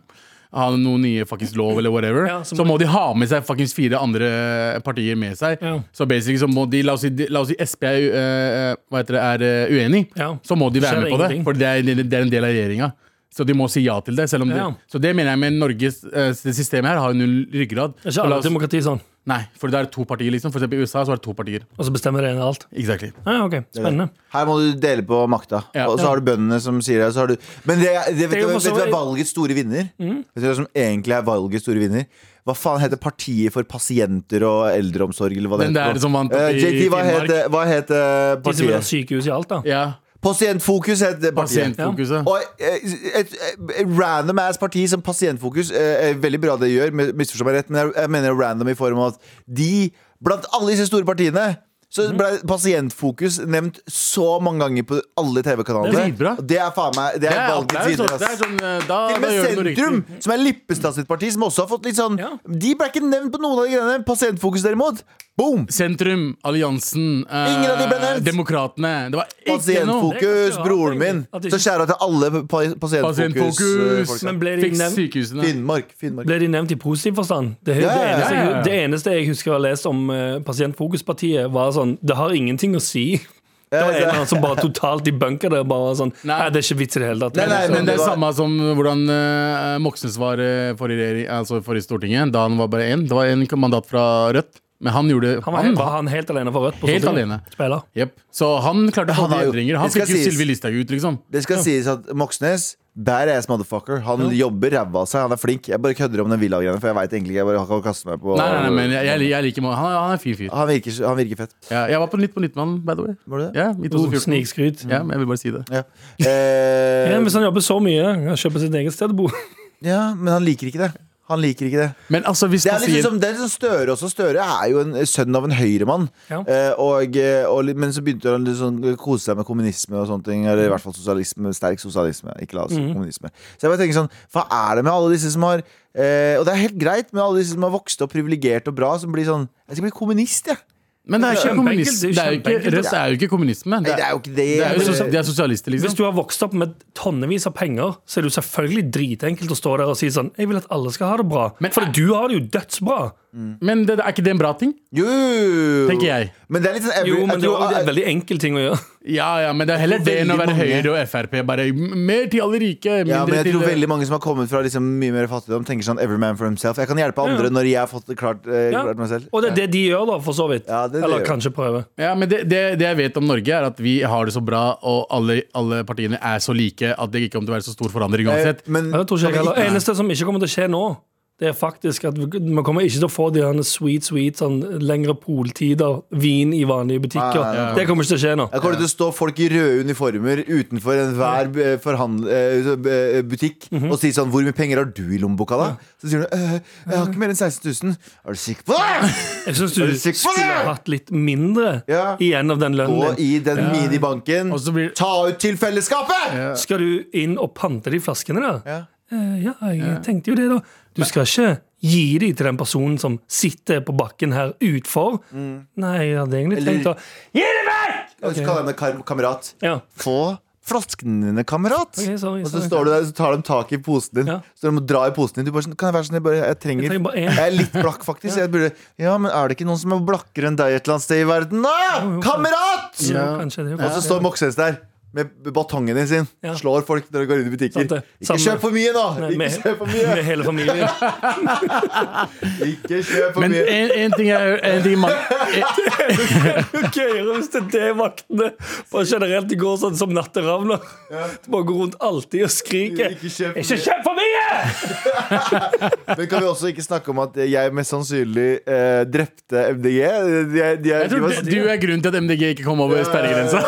S3: ha noen nye fuckings lov eller whatever,
S2: Ja,
S3: så,
S2: så
S3: må, de ha med seg fuckings fire andre partier med seg.
S2: Ja.
S3: Så basically så må de La oss si, la oss si Sp er, u- eh, hva heter det, er eh, uenig,
S2: Ja.
S3: så må de
S2: Så
S3: være
S2: er
S3: med
S2: det
S3: på det.
S2: ingenting.
S3: For det er, det er en del av regjeringa. Så de må si ja til det. Selv om
S2: Ja.
S3: det, så det mener jeg med Norges eh, systemet her har jo null ryggrad.
S2: Det er ikke
S3: Så la
S2: alle
S3: oss-
S2: demokrati sånn.
S3: Nei, for det er to partier, liksom. For eksempel i USA så er det to partier.
S2: Og så bestemmer det ene alt.
S3: Exactly.
S2: Ja, ok, Spennende.
S1: Her må du dele på makta.
S3: Ja.
S1: Og så har du bøndene som sier det. og Så har du... Men det, det, vet,
S2: Det
S1: du,
S2: er jo for
S1: vet
S2: så
S1: du hva er
S2: vidt- Mm.
S1: valgets store vinner? Vet du hva som egentlig er valgets store vinner? Hva faen heter partiet for pasienter og eldreomsorg, eller hva det heter?
S3: Den
S1: nå?
S3: der
S2: liksom
S3: som vant
S1: Eh,
S3: i
S1: JT, hva
S3: Finnmark.
S1: het, hva het eh,
S2: De som vil ha
S1: partiet?
S2: sykehus i alt, da.
S3: Ja,
S1: Pasientfokus het det partiet.
S3: pasientfokuset.
S1: Og eh, et, eh, random ass parti som Pasientfokus eh, er Veldig bra det gjør, men- misforstå meg rett, men jeg, jeg mener random i form av at de, blant alle disse store partiene så
S3: Mhm.
S1: ble Pasientfokus nevnt så mange ganger på alle
S3: Det er
S1: TV-kanalene.
S3: dritbra.
S1: Det er faen meg Det
S3: Det
S1: er
S3: er
S1: valgets
S3: applaus.
S1: vinner,
S3: altså. Det er
S1: ass.
S3: sånn, eh, da,
S1: Til og
S3: da gjør
S1: med
S3: du noe
S1: Sentrum,
S3: riktig.
S1: som er Lippestad sitt parti, som også har fått litt sånn
S2: Ja.
S1: De ble ikke nevnt på noen av de greiene. Pasientfokus, derimot, boom!
S3: Sentrum, Alliansen, eh,
S1: Ingen av de ble nevnt.
S3: Demokratene. Det var ikke noe.
S2: Det er ganske
S1: Pasientfokus,
S2: rart,
S1: broren min.
S2: egentlig, at det
S1: Så
S2: ikke-
S1: skjæra til alle pa- pasientfokus. eh,
S3: Pasientfokus.
S1: folk.
S2: Men ble de
S3: Fiks
S2: nevnt?
S3: sykehusene.
S1: Finnmark. Finnmark.
S2: Ble de nevnt i positiv forstand? Det,
S1: Ja,
S2: det,
S1: ja,
S2: eneste,
S3: ja, ja.
S2: Jeg, det eneste jeg husker å ha lest om eh, Pasientfokuspartiet, var sånn Det har ingenting å si. Det var en eller annen som bare totalt i bunker det. og Bare var sånn Nei,
S3: Nei.
S2: det er ikke vits i det hele tatt.
S1: Nei, nei,
S3: Men det
S1: det
S3: er
S1: var-
S3: samme som hvordan eh, Moxnes var eh, forrige, regjering- altså forrige Stortinget, da han var bare én. Det var en mandat fra Rødt, men han gjorde
S2: Han var, var han helt alene for Rødt på
S3: Helt
S2: Stortinget?
S3: alene.
S2: Spiller.
S3: Jep. Så han klarte å få
S1: Han har
S3: de
S1: jo-
S3: endringer. Han
S1: det skal
S3: fikk jo
S1: sies.
S3: Sylvi Listhaug ut, liksom.
S1: Det skal sies at Moxnes Badass motherfucker. Han jobber ræva av seg. Han er flink. Jeg bare kødder om den villa-greiene, for jeg veit egentlig ikke. Jeg bare kan kaste meg på
S3: Nei, nei, nei, men jeg, jeg, jeg liker Mo- Han, han er en fin fyr.
S1: han, virker, han virker fett.
S3: Ja, jeg var på Nytt på nytt med han, by the way.
S1: Var det det?
S3: Ja, i
S2: Oh,
S3: 2014.
S2: Snikskryt.
S3: Ja, men jeg vil bare si det.
S1: Ja. Eh,
S2: Ja, hvis han jobber så mye, han kjøper sitt eget sted å bo.
S3: sånn-
S1: ja, men han liker ikke det. Han liker ikke det.
S3: Men altså, hvis
S1: Det er
S3: man
S1: litt sånn
S3: sier
S1: som, det er litt sånn Støre også. Støre er jo en sønn av en høyremann.
S2: Ja.
S1: Eh, og, eh, og, litt- men så begynte han å sånn, kose seg med kommunisme og sånne ting.
S2: Mm.
S1: Eller i hvert fall sosialisme, sterk sosialisme. Ikke la oss si kommunisme. Så jeg bare tenker sånn, hva er det med alle disse som har eh, Og det er helt greit med alle disse som har vokst opp privilegert og bra, som blir sånn Jeg skal bli kommunist, jeg.
S3: Men det er ikke
S2: Kjempeenkelt,
S3: kommunisme.
S2: det er
S3: Det er jo ikke,
S2: kjempeenkelt.
S3: Rødt er jo ikke kommunisme.
S1: Nei,
S3: Det
S1: det
S3: er,
S1: er jo ikke det.
S3: det er, jo
S1: men-
S3: sos- de er sosialister,
S2: Hvis
S3: liksom.
S2: du har vokst opp med tonnevis av penger, så er det jo selvfølgelig dritenkelt å stå der og si sånn Jeg vil at alle skal ha det bra.
S3: Men-
S2: For du har det jo dødsbra.
S3: Men det, er ikke det en bra ting?
S1: Jo!
S3: Tenker jeg.
S1: Men det er litt sånn every,
S2: Jo, men
S1: jeg
S2: det er
S1: tror,
S2: også en veldig enkel ting å gjøre.
S3: Ja, ja, men det er heller
S1: Jeg tror
S3: det enn å
S1: veldig
S3: være
S1: mange-
S3: Høyre og Frp. Bare m- mer til alle rike, mindre
S1: Ja, men jeg
S3: til
S1: tror veldig mange som har kommet fra liksom mye mer fattigdom, tenker sånn every man for himself. Jeg kan hjelpe andre når jeg har fått klart, eh,
S2: Ja.
S1: klart meg selv.
S2: Og det er det de gjør, da, for så vidt.
S1: Ja, det er det
S2: Eller
S1: de gjør.
S2: kanskje prøve.
S3: Ja, men det, det, det jeg vet om Norge, er at vi har det så bra, og alle, alle partiene er så like at det ikke kommer til å være så stor forandring
S1: Eh,
S3: uansett.
S1: men-
S2: Ja, Det tror ikke jeg
S1: kan vi
S2: heller. eneste som ikke kommer til å skje nå, det er faktisk at vi vi kommer ikke til å få de her sweet, sweet sånn lengre poltider, vin i vanlige butikker.
S1: Nei,
S3: nei, nei.
S2: Det kommer ikke til å skje nå.
S1: Jeg kommer til å stå folk i røde uniformer utenfor enhver eh, forhandl- eh, så- eh, butikk og si sånn 'Hvor mye penger har du i lommeboka, da?' Så sier du «Øh, 'Jeg har ikke mer enn 16 000'. Er du sikker på det?!
S2: Jeg syns du
S1: Er du sikker på det?
S2: skulle hatt litt mindre
S1: Ja.
S2: igjen av den
S1: Gå
S2: lønnen din.
S1: i den minibanken.
S3: Og så blir-
S1: Ta ut til fellesskapet!
S2: Skal du inn og pante de flaskene, da?
S1: Ja.
S2: Eh, ja, jeg tenkte jo det, da. Du skal ikke gi de til den personen som sitter på bakken her utfor. Nei, jeg hadde
S1: Mm.
S2: egentlig
S1: Eller-
S2: tenkt å Gi det vekk!
S1: Og så kaller jeg meg kar- kamerat.
S2: Ja.
S1: Få flaskene dine, kamerat!
S2: Ok, sorry,
S1: og så
S2: sorry.
S1: står du der, så tar de tak i posen din.
S2: Ja.
S1: Så de må dra i posen din. Du bare sånn, kan jeg være sånn, jeg, bare, jeg trenger
S2: Jeg trenger bare en.»
S1: Jeg er litt blakk, faktisk. Jeg burde, ja, men er det ikke noen som er blakkere enn deg et eller annet sted i verden, da? Kamerat!
S2: Jo, kanskje det.
S1: Og så står Moxnes der med batongen din sin.
S2: Ja.
S1: Slår folk når de går inn i butikker.
S2: Sant det.
S1: Ikke
S2: Samme-
S1: kjøp for mye, nå!
S2: Nei,
S1: Ikke
S2: med-
S1: kjøp for mye!
S2: Med hele familien.
S1: Ikke kjøp for
S3: Men
S1: mye!
S3: en, en ting jeg en ting man, Eh, en,
S2: Gøyere hvis det er det vaktene bare generelt de går sånn som natteravner. De bare går rundt alltid og skriker.
S1: Ikke kjøp for
S2: Ikke
S1: mye.
S2: kjøp for mye!
S1: Men kan vi også ikke snakke om at jeg mest sannsynlig eh, drepte MDG? De, er- de, er-
S3: Jeg
S1: de
S3: tror
S1: var-
S3: det- du er grunnen til at MDG ikke kom over sperregrensa.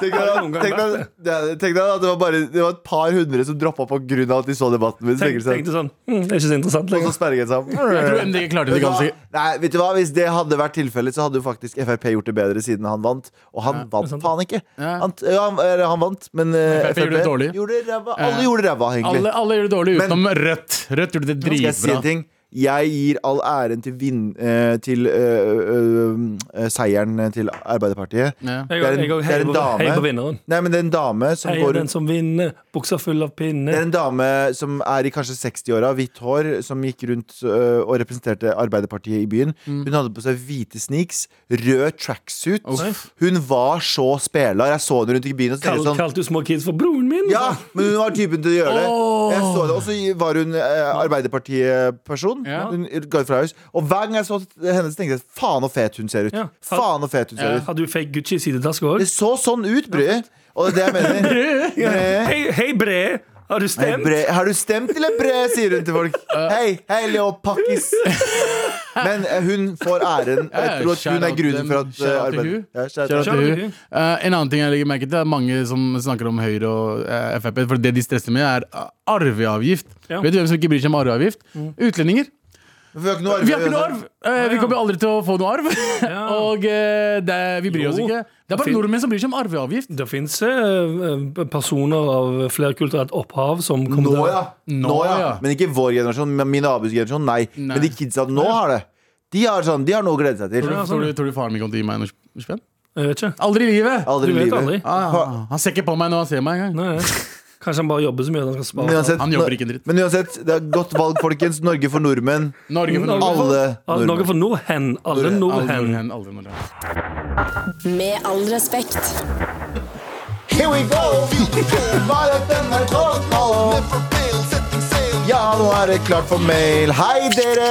S1: Tenk deg,
S2: Har det noen gang
S1: tenk deg, ja, tenk deg at det var, bare, det var et par hundre som droppa på grunn av at de så debatten. Men
S2: Tenk,
S1: tenker seg-
S2: tenkte sånn hm, Det er ikke så interessant
S1: og så
S2: lenger.
S1: sperret seg
S3: Jeg tror MDG klarte det
S1: Vet du hva?
S3: ganske
S1: Nei, vet du hva? Hvis det hadde vært tilfellet, så hadde jo faktisk Frp gjort det bedre siden han vant. Og han vant
S2: sant.
S1: faen ikke.
S3: Ja.
S1: Han, ja, han, eller han vant, men eh,
S3: FrP gjorde det dårlig.
S1: gjorde ræva.
S3: Ja.
S1: Alle gjorde ræva, egentlig.
S3: alle, alle gjør det dårlig utenom
S1: Men-
S3: Rødt. Rødt gjorde det
S1: Skal jeg si en
S3: dritbra.
S1: ting? Jeg gir all æren til, vinn, eh, til eh, eh, eh, seieren til Arbeiderpartiet.
S3: Ja.
S2: Jeg
S1: Det er en-
S2: jeg-
S1: det er en
S2: hei på-
S1: dame.
S2: Hei på vinneren.
S1: Nei, men det er en dame som
S2: Hei,
S1: går rundt
S2: den som vinner. Buksa full av
S1: Det
S2: pinner.
S1: er en dame som er i kanskje 60-åra, hvitt hår, som gikk rundt øh, og representerte Arbeiderpartiet i byen. Hun hadde på seg hvite sneaks, rød tracksuit.
S3: Uff.
S1: Hun var så spela. Jeg så henne rundt i byen og tenkte
S2: Kal-
S1: sånn
S2: Kalte du små kids for broren min?
S1: ja, men hun var typen til å gjøre det.
S3: Åh.
S1: Jeg så det, Og så var hun eh, Arbeiderpartiet-person.
S3: Ja.
S1: Hun ga fra hus. Og hver gang jeg så henne, så tenkte jeg faen så fet hun ser ut.
S2: Ja.
S1: Faen så fet hun ser ut.
S2: Hadde du fake Gucci i sidetaske òg?
S1: Det så sånn ut, Brød. Og det er det jeg mener. Brød.
S2: Hei, hei Bre! Har du
S1: Hei,
S2: stemt?
S1: bre. Har du stemt eller bre, sier hun til folk. Hei, hei, lille pakkis. Men eh, hun får æren.
S3: Ja,
S1: Jeg tror at hun
S3: shout
S1: er
S3: out
S1: grunnen for
S3: dem.
S1: at eh,
S3: Shout out til
S1: arbeidet
S3: hun.
S1: Ja, shout out.
S3: Kjør
S2: Kjør
S3: til
S2: til
S3: hun.
S2: hun.
S3: Eh, en annen ting jeg legger merke til, det er mange som snakker om Høyre og eh, Frp. For det de stresser med, er eh, arveavgift.
S2: Ja. Mm.
S3: Vet du hvem som ikke bryr seg om arveavgift? Utlendinger.
S1: Vi har ikke noe arv.
S3: Vi har ikke noe arv! Eh, vi
S2: ja.
S3: kommer aldri til å få noe arv.
S2: Ja.
S3: og eh, det, vi bryr oss
S2: Jo.
S3: ikke. Det er bare
S2: Fin-
S3: nordmenn som bryr seg om arveavgift.
S2: Det fins personer av flerkulturelt opphav som kommer
S1: sånn- Nå,
S2: til
S1: ja.
S3: Nå,
S1: Nå, ja.
S3: ja.
S1: Men ikke vår generasjon, men min nabos generasjon. Nei.
S3: Nei.
S1: Men de kidsa nå har det. De har, sånn, de har noe å glede seg til.
S2: Ja, sånn.
S3: Tror du, tror du faren min kommer til å gi meg en norsk spenn?
S2: Jeg vet ikke.
S3: Aldri i livet!
S1: Aldri
S2: Du
S1: i
S2: vet
S1: livet.
S2: aldri.
S3: Ah, ja. han ser ikke på meg når han ser meg engang.
S2: Nei. Kanskje han bare jobber så mye at han skal
S1: Men
S2: spare.
S1: uansett,
S3: Han jobber ikke en dritt.
S1: men uansett, det er godt valg, folkens. Norge for nordmenn.
S3: Norge for Norge.
S1: Alle
S2: Al- Norge
S1: nordmenn.
S2: for Nordhen. Alle
S3: Alle
S2: Nordhen.
S3: nordmenn, alle nordmenn.
S5: Med all respekt.
S1: Here we go! Bare at den er tolv nå. Ja, nå er det klart for mail. Hei, dere!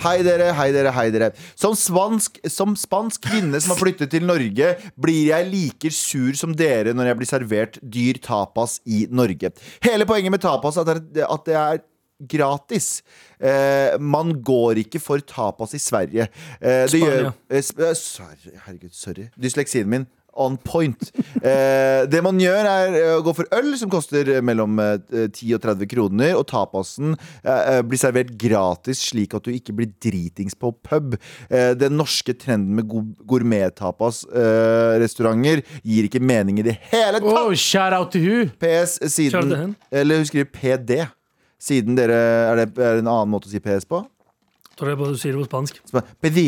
S1: Hei dere, hei dere, hei dere. Som, svansk, som spansk kvinne som har flyttet til Norge, blir jeg like sur som dere når jeg blir servert dyr tapas i Norge. Hele poenget med tapas er at det er- at det er gratis. Eh, man går ikke for tapas i Sverige. Eh, det gjør,
S2: Spania.
S1: eh, sp eh, Sverige, herregud, sorry. Dysleksien min. On point. Eh, det man gjør, er eh, å gå for øl, som koster eh, mellom eh, 10 og 30 kroner, og tapasen eh, eh, blir servert gratis, slik at du ikke blir dritings på pub. Eh, den norske trenden med gourmet-tapas-restauranter gir ikke mening i det hele tatt!
S3: Oh, shout out til hun!
S1: PS
S2: Kjør det
S1: siden
S2: hen.
S1: Eller hun skriver PD. Siden dere Er det er det en annen måte å si PS på?
S2: Tror det er bare du sier det på spansk.
S1: Sp- PD.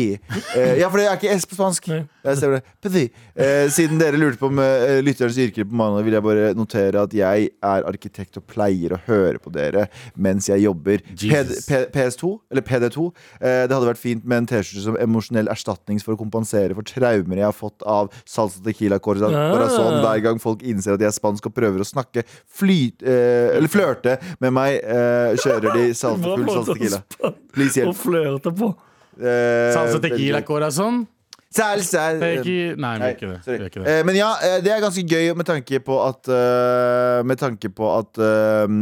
S1: Eh, ja, for det er ikke S på spansk.
S2: Nei.
S1: Jeg ser det. PD. Eh, siden dere lurte på om eh, lytterens yrker på mandag, vil jeg bare notere at jeg er arkitekt og pleier å høre på dere mens jeg jobber. PD,
S3: Jesus.
S1: P, PS2, eller PD2. Eh, det hadde vært fint med en T-skjorte som emosjonell erstatning for å kompensere for traumer jeg har fått av salsa tequila corza-
S2: Ah.
S1: corazon hver gang folk innser at jeg er spansk og prøver å snakke flyt... Eh, eller flørte med meg, eh, kjører de salsa,
S2: Bra
S1: full
S2: måte
S1: salsa
S2: å
S1: tequila.
S2: sp-
S1: Please
S2: Å
S1: hjelp.
S2: flørte på.
S1: Eh,
S3: Salsa tequila corazón.
S1: Salsa
S3: Tequi- Nei, vi
S1: Nei,
S3: gjør ikke det. Vi
S1: sorry.
S3: gjør ikke det.
S1: Eh, Men ja, eh, det er ganske gøy med tanke på at eh, Med tanke på at eh,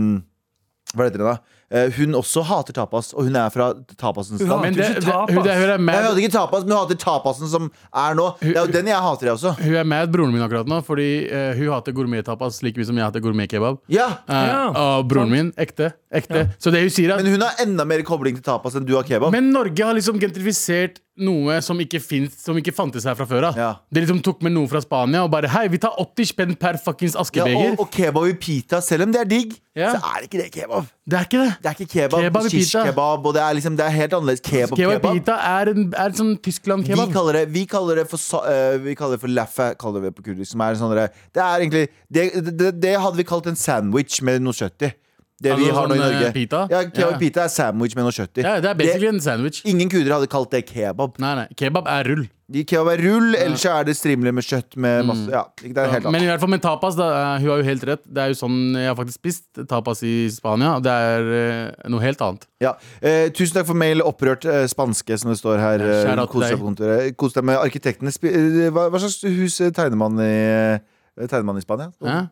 S1: Hva heter det da? Eh, Hun også hater tapas, og hun er fra tapasens
S2: Hun
S1: land.
S3: Men
S2: hater
S3: det,
S2: ikke
S3: det,
S2: tapas.
S3: hun, det, hun er
S1: Nei, Hun
S3: mad
S1: hater ikke tapas, men hun hater tapasen som er nå. Det er jo den jeg hater, jeg også.
S3: Hun er mad broren min akkurat nå, fordi eh, hun hater gourmettapas like mye som jeg hater gourmetkebab.
S1: Ja,
S3: Uh,
S2: Ja,
S3: og broren min, ekte. ekte. Så det hun sier er
S1: Men hun har enda mer kobling til tapas enn du har kebab.
S3: Men Norge har liksom gentrifisert noe som ikke, finnes, som ikke fantes her fra før av.
S1: Ja.
S3: De liksom tok med noe fra Spania og bare Hei, vi tar 80 spenn per fuckings
S1: ja,
S3: askebeger.
S1: og, og kebab i pita, selv om det er digg,
S3: Ja.
S1: så er det ikke det kebab.
S3: det er ikke det.
S1: Det er ikke kebab,
S3: Kebab i pita.
S1: shish kebab, og det er, liksom, det er helt annerledes.
S3: Kebab
S1: Kebab-kebab.
S3: pita er, en, er sånn
S1: Vi
S3: Tyskland-kebab.
S1: kaller, det, vi kaller det for sa- eh, Vi kaller det for laffa, kaller vi det på kurdisk. Som er en sånn derre- Det er egentlig det, det, det hadde vi kalt en sandwich med noe kjøtt i. Det vi
S3: Altså
S1: har nå i
S3: sånn, eh,
S1: Norge.
S3: pita?
S1: Ja, kebab
S3: Ja.
S1: pita er sandwich med noe kjøtt i.
S3: Ja, det er basically en sandwich.
S1: ingen kurdere hadde kalt det kebab.
S3: Nei, nei, Kebab er rull.
S1: De kebab er rull, ellers så er det strimler med kjøtt med masse Ja, det er helt
S3: Mm. Men i
S1: annet.
S3: hvert fall med tapas, da, eh, hun har jo helt rett. Det er jo sånn jeg har faktisk spist tapas i Spania, og det er eh, noe helt annet.
S1: Ja. Eh, tusen takk for mail, opprørt eh, spanske, som det står her.
S3: Ja,
S1: eh,
S3: shout out
S1: Kos deg
S3: til
S1: på kontoret. Kos deg med arkitektene. Spi- eh, Hva, hva slags hus eh, tegner man i, eh, tegner man i Spania?
S3: Hæ?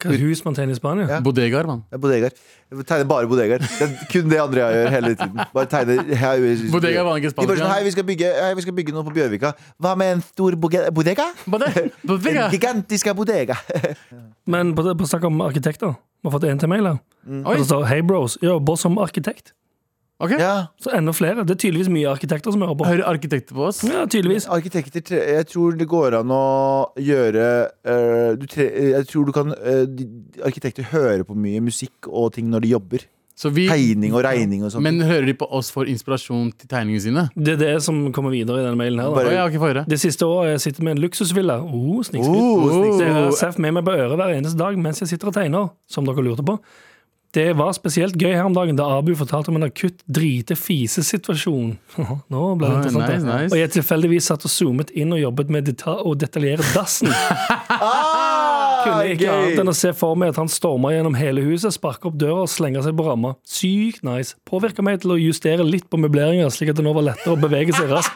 S2: Hva er hus man tegner i Spania?
S1: Ja.
S3: Bodegaer, mann.
S1: Det er Bodegaer. Jeg tegner bare bodegaer. Det er kun det andre jeg gjør hele tiden. Bare tegner
S3: Bodegaer var ikke
S1: De bare
S3: spansk,
S1: sånn,
S3: ja.
S1: hei, vi skal bygge, hei, vi skal bygge noe på Bjørvika. Hva med en stor boge- bodega?
S3: Bode-
S1: En
S3: Bodega.
S1: gigantisk bodega.
S2: Men på, på snakk om arkitekter. Vi har fått en til mail her. Og
S3: Oi,
S2: det står Hei bros, jeg jobber som arkitekt.
S3: ok.
S1: Ja,
S2: Så enda flere. Det er tydeligvis mye arkitekter som hører på.
S3: Hører arkitekter på oss?
S2: Ja, tydeligvis.
S1: arkitekter tre- Jeg tror det går an å gjøre eh, du tre, eh, Jeg tror du kan eh, de- Arkitekter hører på mye musikk og ting når de jobber.
S3: Så vi,
S1: Tegning og regning og sånt.
S3: men hører de på oss for inspirasjon til tegningene sine?
S2: Det er det som kommer videre i denne mailen her.
S3: Å,
S1: Bare-
S2: Da.
S3: ja, ok, få høre.
S2: Det siste året har jeg sittet med en luksusvilla. Oh, snikskritt.
S1: oh, snikskritt.
S2: Det har Seff med meg på øret hver eneste dag mens jeg sitter og tegner, som dere lurte på. Det var spesielt gøy her om dagen da Abu fortalte om en akutt drite-fise-situasjon. Nå ble det
S3: Ah,
S2: interessant.
S3: nice,
S2: da.
S3: nice.
S2: Og jeg tilfeldigvis satt og zoomet inn og jobbet med deta å detaljere dassen.
S1: Ah,
S2: Oh. Kunne ikke
S1: gøy.
S2: annet enn å se for meg at han storma gjennom hele huset, sparka opp døra og slenga seg på ramma. Sykt nice. Påvirka meg til å justere litt på møbleringa, slik at det nå var lettere å bevege seg raskt.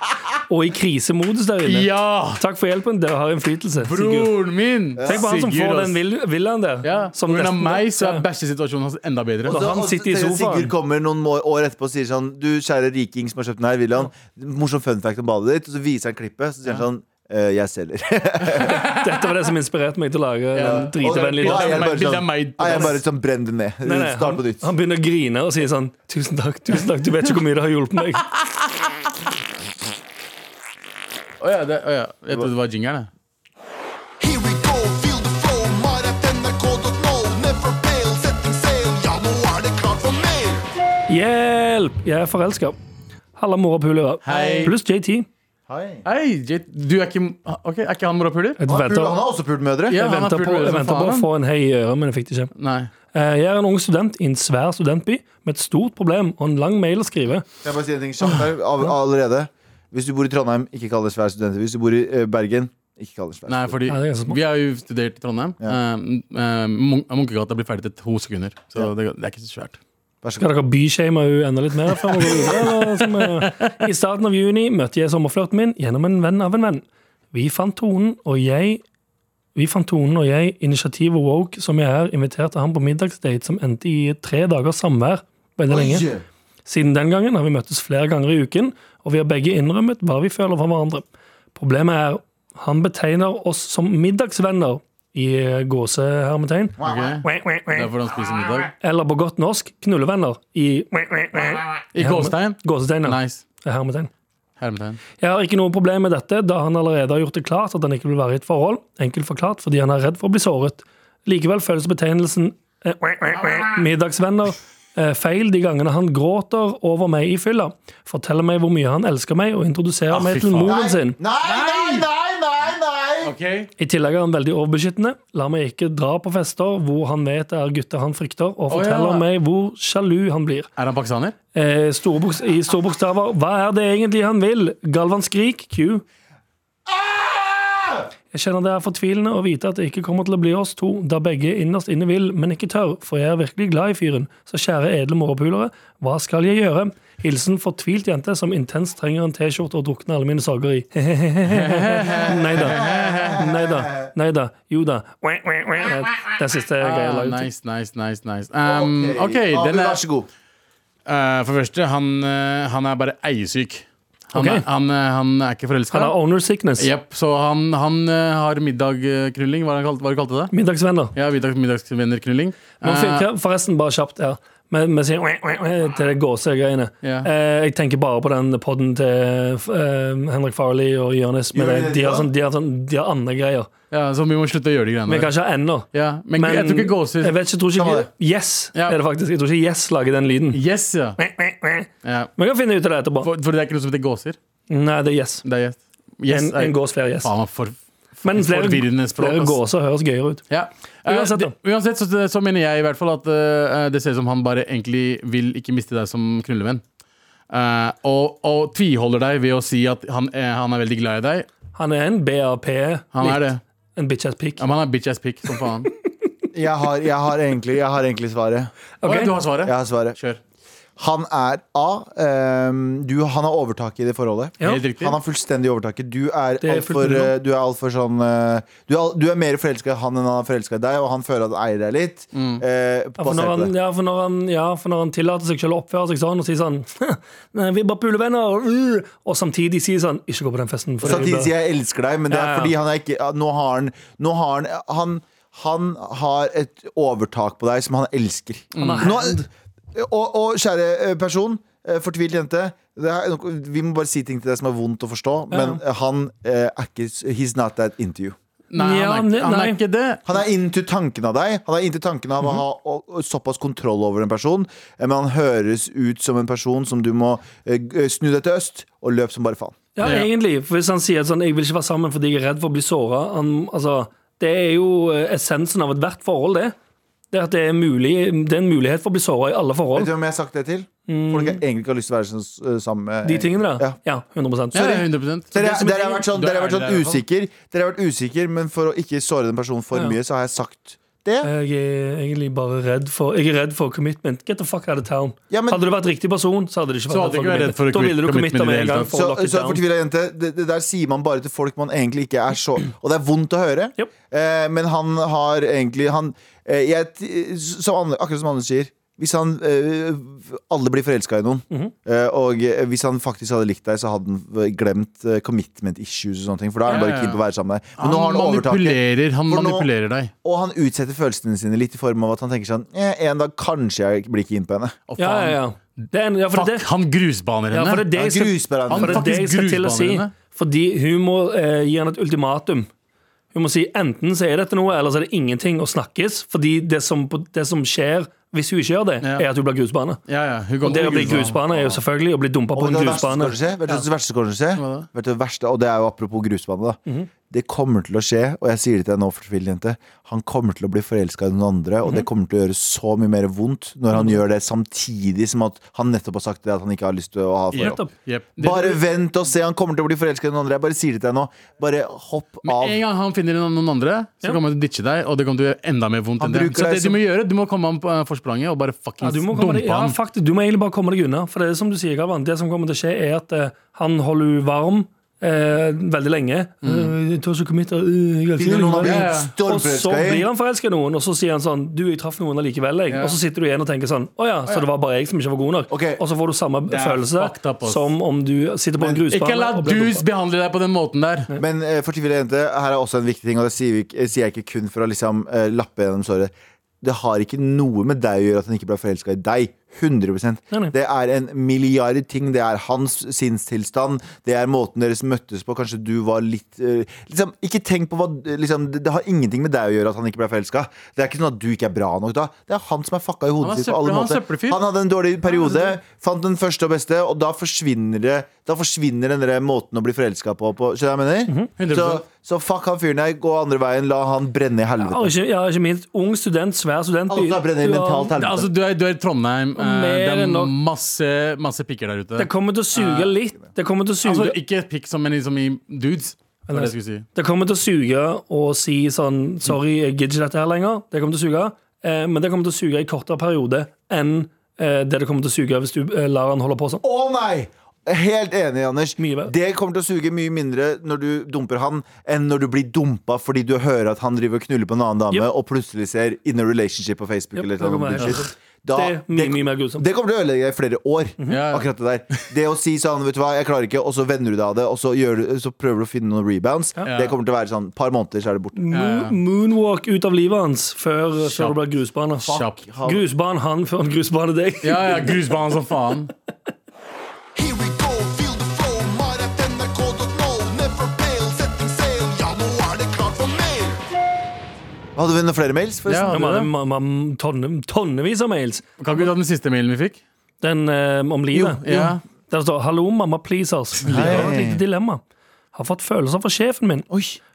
S2: og i krisemodus der inne.
S3: Ja!
S2: Takk for hjelpen, dere har innflytelse. Sigurd.
S3: Broren min!
S2: Tenk på han som
S3: Sigurd,
S2: får
S3: ass.
S2: den vill- villaen der.
S3: ja.
S2: Som
S3: Pga.
S2: resten-
S3: meg så
S2: Ja.
S3: er bæsjesituasjonen hans enda bedre.
S2: Og da- han
S1: Og så
S2: sitter i
S1: tenker jeg
S2: sofaen.
S1: Sigurd kommer noen må- år etterpå og sier sånn Du kjære riking som har kjøpt den her, vil han Morsom fun fact om badet ditt. Og så viser han klippet, så sier han sånn «Eh, Jeg selger.
S2: Dette var det som inspirerte meg til å lage den
S1: Og-
S2: dritevennlige
S1: og
S3: Ja,
S1: jeg
S3: ja.
S1: er
S2: dagen.
S1: bare
S3: Bildet av
S1: sånn-
S3: meg-
S1: Nei, Jeg er bare sånn brenn det ned.
S2: Nei, nei,
S1: Start
S2: han,
S1: på nytt.
S2: han begynner å grine og sier sånn Tusen takk, tusen takk, du vet ikke hvor mye det har hjulpet meg.
S3: Å ja, det, å ja. Jeg trodde det var jingeren. jeg.
S4: Here we go, feel the flow. Mar.nrk.no, never fail. Setting sail, ja, nå er det klart for mer.
S2: Hjelp! Jeg er forelska. Halla, morapulere.
S3: Hei.
S2: Pluss JT.
S1: Hei.
S3: Hei, J- du er ikke Ok, er ikke han morapuler?
S1: Han
S2: Jeg
S1: har pult- han
S2: venter
S1: har også pult mødre.
S3: Ja,
S2: jeg
S3: han er
S2: venter på,
S3: puler
S2: jeg
S3: som
S2: venter på
S3: faen,
S2: å
S3: han.
S2: få en hei i øret, men jeg fikk det ikke.
S3: Nei.
S2: Eh, Jeg er en ung student i en svær studentby med et stort problem og en lang mail å skrive.
S1: Kan jeg bare si en ting kjapt her av, allerede? Hvis du bor i Trondheim, ikke kall det svær student. Hvis du bor i eh, Bergen, ikke kall det svær.
S3: Nei, fordi
S2: Nei, det er ganske smart.
S3: vi har jo studert i Trondheim. Ja. Munkegata blir ferdig til to sekunder, så det, det er ikke så svært.
S1: Vær så
S2: Skal
S1: god.
S2: dere byshamea henne enda litt mer? Før vi går videre, eller? Som, eh, I starten av juni møtte jeg sommerflørten min gjennom en venn av en venn. Vi fant tonen, og jeg Vi fant tonen og jeg, initiativet Woke, som jeg er, inviterte han på middagsdate som endte i tre dagers samvær. Veldig lenge.
S1: Oi.
S2: Siden den gangen har vi møttes flere ganger i uken, og vi har begge innrømmet hva vi føler for hverandre. Problemet er han betegner oss som middagsvenner i eh, gåsehermetegn.
S3: Ok? Det er fordi han spiser middag.
S2: Eller på godt norsk knullevenner i
S3: I gåstein?
S2: gåsetegn. ja.
S3: Nice.
S2: Hermetegn.
S3: Hermetegn.
S2: Jeg har ikke noe problem med dette, da han allerede har gjort det klart at han ikke vil være i et forhold. Enkelt forklart fordi han er redd for å bli såret. Likevel føles betegnelsen eh, middagsvenner eh, feil de gangene han gråter over meg i fylla, forteller meg hvor mye han elsker meg, og introduserer
S3: Ah, fy
S2: meg til
S3: faen.
S2: moren sin.
S1: Nei, nei, nei, nei, nei!
S3: Ok
S2: I tillegg er han veldig overbeskyttende. La meg ikke dra på fester hvor han vet det er gutter han frykter, og
S3: Å, ja.
S2: forteller meg hvor sjalu han blir.
S3: Er han pakistaner?
S2: Eh, store boks- I store bokstaver. Hva er det egentlig han vil? Galvan skrik. Q. Jeg kjenner det er fortvilende å vite at det ikke kommer til å bli oss to, da begge innerst inne vil, men ikke tør, for jeg er virkelig glad i fyren. Så kjære edle morapulere, hva skal jeg gjøre? Hilsen fortvilt jente som intenst trenger en T-skjorte og drukner alle mine sorger i. Nei da. Nei da. Nei da. Jo da. Det er siste greia jeg
S3: Ah,
S2: la ut.
S3: nice, nice, nice, nice. Um, ok, den
S1: Abu,
S3: er
S1: vær så god.
S3: Eh, For det første, han, eh, han er bare eiesyk. Han,
S2: Ok.
S3: er, han, eh, han er ikke forelska.
S2: Han har owner sickness.
S3: Jepp, så han, han eh, har middagkrylling. Hva er det han kalte- hva er det du kalte det?
S2: Middagsvenner.
S3: Ja, middag, middagsvennerkrylling.
S2: Man
S3: Eh,
S2: fikk, forresten, bare kjapt her. Med, med sin, eh, til det gåsegreiene.
S3: Ja.
S2: Eh, jeg tenker bare på den poden til eh, Henrik Farley og Jonis. men
S1: Gjør vi det
S2: De har,
S1: da?
S2: sånn, de har, sånn, de har andre greier.
S3: ja, så vi må slutte å gjøre de
S2: Vi
S3: greiene
S2: kan
S3: der.
S2: ikke ha ennå.
S3: Ja, men, jeg tror ikke gåser
S2: Jeg vet ikke, jeg tror
S1: Samme
S2: ikke
S1: det.
S2: Yes
S3: Ja.
S2: er det faktisk. Jeg tror ikke Yes lager den lyden.
S3: Yes, ja.
S2: Vi
S3: ja.
S2: kan finne ut av det etterpå.
S3: For, for det er ikke noe som heter gåser.
S2: Nei, det er Yes.
S3: Det er yes. yes
S2: En,
S3: er-
S2: en gås, flere Yes.
S3: Faen, for,
S2: Men flere,
S3: forvirrende språk,
S2: flere
S3: ass.
S2: gåser høres gøyere ut.
S3: Ja. Eh,
S2: Uansett,
S3: det- uansett så, så mener jeg i hvert fall at eh, det ser ut som han bare egentlig vil ikke miste deg som knullevenn. Eh, og, og tviholder deg ved å si at han er, han er veldig glad i deg.
S2: Han er en BAP.
S3: Han er det.
S2: E, En bitch ass pick.
S3: Ja, men han er bitch ass pick som faen.
S1: Jeg har, jeg har, egentlig, jeg har egentlig svaret.
S3: Å, ja, du har svaret?
S1: Jeg har svaret.
S3: Kjør.
S1: Han er A. ehm, du, han har overtaket i det forholdet.
S2: Ja.
S3: Helt riktig.
S1: Han har fullstendig overtaket. Du er
S2: er
S1: altfor
S2: fullt mulig.
S1: eh, du er alt for sånn eh, du er, al- du er mer forelska i han enn han er forelska i deg, og han føler at han eier deg litt. eh,
S2: Ja for, når
S1: basert på
S2: han,
S1: det.
S2: ja, for når han, ja, for når han tillater seg selv å oppføre seg sånn og sier sånn Nei, 'Vi er bare pulevenner', og, uh, og samtidig sier sånn 'Ikke gå på den festen'. for det er
S1: Samtidig
S2: bare-
S1: sier jeg elsker deg, men det
S2: Ja,
S1: er
S2: ja.
S1: fordi han er ikke ja, Nå har han Nå har han Han, han har et overtak på deg som han elsker. Nå, og, og kjære eh, person, eh, fortvilt jente. Det er, vi må bare si ting til deg som er vondt å forstå, men eh, han eh, er ikke He's not that into you.
S3: Nei, han, er,
S2: Ja,
S3: han
S2: nei.
S3: er ikke det.
S1: Han er into tanken av deg. Han er into tanken av å ha
S2: Mhm.
S1: å- å- såpass kontroll over en person. eh, Men han høres ut som en person som du må eh, g- snu deg til øst og løp som bare faen.
S2: Ja,
S3: Ja.
S2: egentlig. For hvis han sier sånn 'Jeg vil ikke være sammen fordi jeg er redd for å bli såra', altså, det er jo eh, essensen av ethvert forhold, det. Det er at det er, mulig, det er en mulighet for å bli såra i alle
S1: Vet
S2: forhold.
S1: du hvem jeg har sagt det til? Folk jeg egentlig ikke har lyst til å være sånn, eh, sammen med.
S2: Mm. De tingene der.
S1: Ja.
S2: Ja, 100
S3: Ja, 100
S1: Dere,
S3: Det som
S1: dere,
S3: er-
S1: har vært sånn,
S3: Du er
S1: dere har vært
S3: ærlig
S1: sånn
S3: der i hvert fall.
S1: usikker, Dere har vært usikker, men for å ikke såre den personen for
S2: Ja. Eh,
S1: mye, så har jeg sagt det?
S2: Jeg er egentlig bare redd for Jeg er redd for commitment. Get the fuck out of town.
S1: Ja, men-
S2: hadde du vært riktig person, så hadde du ikke
S3: Så
S2: vært
S3: hadde ikke vært redd for
S2: Da ville du
S3: commitment
S2: committa med
S3: i det
S2: en
S3: hele
S2: gang.
S3: tatt.
S2: For
S1: Så,
S2: å lock it
S1: så
S2: down.
S1: fortvila jente, det, det der sier man bare til folk man egentlig ikke er så Og det er vondt å høre,
S2: Yep.
S1: eh, men han har egentlig han, eh, jeg, t- som, Anne- Akkurat som Anders sier. Hvis han eh, Alle blir forelska i noen.
S3: Mhm.
S1: eh, og eh, hvis han faktisk hadde likt deg, så hadde han glemt eh, commitment issues og sånne ting. For da er han
S3: Ja,
S1: bare
S3: ja,
S1: keen på å være sammen med deg. Men
S3: Han
S1: nå har han overtaket.
S3: manipulerer, han
S1: For nå-
S3: manipulerer deg.
S1: Og han utsetter følelsene sine litt i form av at han tenker sånn eh, En dag kanskje jeg blir keen på henne.
S3: Å,
S2: Ja, ja,
S3: faen.
S2: ja. Det er en, ja, for
S3: Fuck,
S2: det,
S3: han grusbaner
S2: ja,
S3: henne.
S2: for det er det
S1: Han
S2: jeg skal
S1: gruser hverandre.
S2: For det er det jeg
S3: faktisk
S2: skal til å si.
S3: grusbaner henne.
S2: Fordi hun må eh, gi han et ultimatum. Hun må si enten så er dette noe, eller så er det ingenting å snakkes. Fordi det som, det som skjer hvis hun ikke gjør det,
S3: Ja.
S2: er at hun blir grusbane.
S3: Ja, ja, hun går-
S2: Og det å bli grusbane er jo selvfølgelig å bli dumpa på
S1: Og
S2: en
S1: det verste som
S2: grusbane.
S1: kan skje, vet du det verste som kan skje? Vet du det verste, og det er jo apropos grusbane, da.
S2: Mhm.
S1: Det kommer til å skje, og jeg sier det til deg nå, fortvilet jente. Han kommer til å bli forelska i noen andre, og
S2: Mhm.
S1: det kommer til å gjøre så mye mer vondt når han gjør det samtidig som at han nettopp har sagt det at han ikke har lyst til å ha forhold.
S2: Nettopp.
S3: Jep. Det-
S1: Bare vent og se, han kommer til å bli forelska i noen andre. Jeg bare sier det til deg nå. Bare hopp av.
S3: En gang han finner noen andre, så
S2: Ja.
S3: kommer han til å ditche deg. Og det kommer til å gjøre enda mer vondt
S1: Han
S3: enn det.
S1: bruker
S3: Så
S1: deg
S3: det
S1: som-
S3: du må gjøre, du må komme ham på eh, forspranget og bare
S2: Ja,
S3: fuckings
S2: du, må komme
S3: dumpe
S2: deg, ja,
S3: ham.
S2: faktisk, du må egentlig bare komme deg unna. For det er som du sier, Galvan, det som kommer til å skje, er at eh, han holder henne varm eh, veldig lenge.
S3: Mm.
S2: Eh, jeg tør ikke committe, eh, jeg elsker
S1: Finner
S2: deg
S1: noen han
S2: likevel.
S3: Ja,
S1: blir
S3: ja.
S2: Og så
S1: stormforelska i.
S2: blir han forelska i noen, og så sier han sånn Du, jeg traff noen allikevel, jeg.
S3: Ja.
S2: Og så sitter du igjen og tenker sånn Å ja, så det var bare jeg som ikke var god nok.
S1: Ok.
S2: Og så får du samme
S3: er
S2: følelse
S3: fucked up, ass.
S2: som om du sitter på en grusbane.
S3: Ikke la
S2: og blir
S3: dus
S2: dumpet.
S3: behandle deg på den måten der.
S1: Men eh, fortvila jente, her er også en viktig ting, og det sier, vi, ikke- eh, sier jeg ikke kun for å liksom eh, lappe gjennom såret. Det har ikke noe med deg å gjøre at han ikke ble forelska i deg. 100
S2: Nei, nei.
S1: Det er en milliard ting. Det er hans sinnstilstand. Det er måten deres møttes på. Kanskje du var litt eh, liksom, Ikke tenk på hva liksom, det, det har ingenting med deg å gjøre at han ikke ble forelska. Det er ikke sånn at du ikke er bra nok da. Det er han som er fucka i hodet
S3: Han er
S1: sitt på alle
S3: søppel- han er
S1: måter.
S3: søppelfyr.
S1: Han hadde en dårlig periode, fant den første og beste, og da forsvinner det Da forsvinner den der måten å bli forelska på. på skjønner du hva jeg mener?
S3: 100%.
S1: så, så fuck han fyren der. Gå andre veien. La han brenne i
S2: Ja, og
S1: helvete.
S2: ikke, ja, ikke minst ung student, svær studentby.
S1: Alle som brenner i
S2: Du har-
S1: mentalt helvete.
S3: Altså, du er, du er i Trondheim. eh,
S2: mer
S3: det er
S2: enn nok.
S3: masse, masse pikker der ute.
S2: Det kommer til å suge litt. Det kommer til å suge
S3: Altså, ikke pikk som en liksom i dudes. Det var det jeg skulle si.
S2: Det kommer til å suge å si sånn Sorry, jeg gidder ikke dette her lenger. Det kommer til å suge. Eh, men det kommer til å suge i kortere periode enn eh, det det kommer til å suge hvis du eh, lar han holde på sånn.
S1: Å nei! Helt enig, Anders.
S2: Mye bedre.
S1: Det kommer til å suge mye mindre når du dumper han, enn når du blir dumpa fordi du hører at han driver og knuller på en annen dame,
S2: Yep.
S1: og plutselig ser in a relationship på Facebook.
S2: Yep,
S1: eller
S2: det kommer
S1: noe
S2: jeg
S1: bullshit.
S2: helt
S1: Da,
S2: sånn. Det er mye, mye mer grusomt. Mhm.
S1: det kommer til å ødelegge deg i flere år.
S3: Ja, ja.
S1: Akkurat Det der Det å si sånn, vet du hva, jeg klarer ikke, og så vender du deg av det, og så, gjør, du- så prøver du å finne noen rebounds. Det kommer til å være sånn et par måneder, så er det borte.
S2: Mm.
S3: Ja, ja.
S2: Moon, moonwalk ut av livet hans før,
S3: Kjapt.
S2: før det blir grusbane.
S3: Kjapt.
S2: Grusbane han før han grusbane deg.
S3: Ja, ja, grusbanen som faen.
S4: Here we go, feel the flow, maratnrk.no. Never fail, setting sail, ja, nå er det klart for mer.
S1: Hadde vi noen flere mails? forresten?
S3: Ja,
S2: Han hadde
S3: det.
S2: ma- ma- tonne, tonnevis av mails.
S3: Kan ikke du ta den siste mailen vi fikk?
S2: Den eh, om livet.
S3: ja.
S2: Der det står 'Hallo, mamma altså." pleasers'. Jeg har et lite dilemma. Har fått følelser fra sjefen min.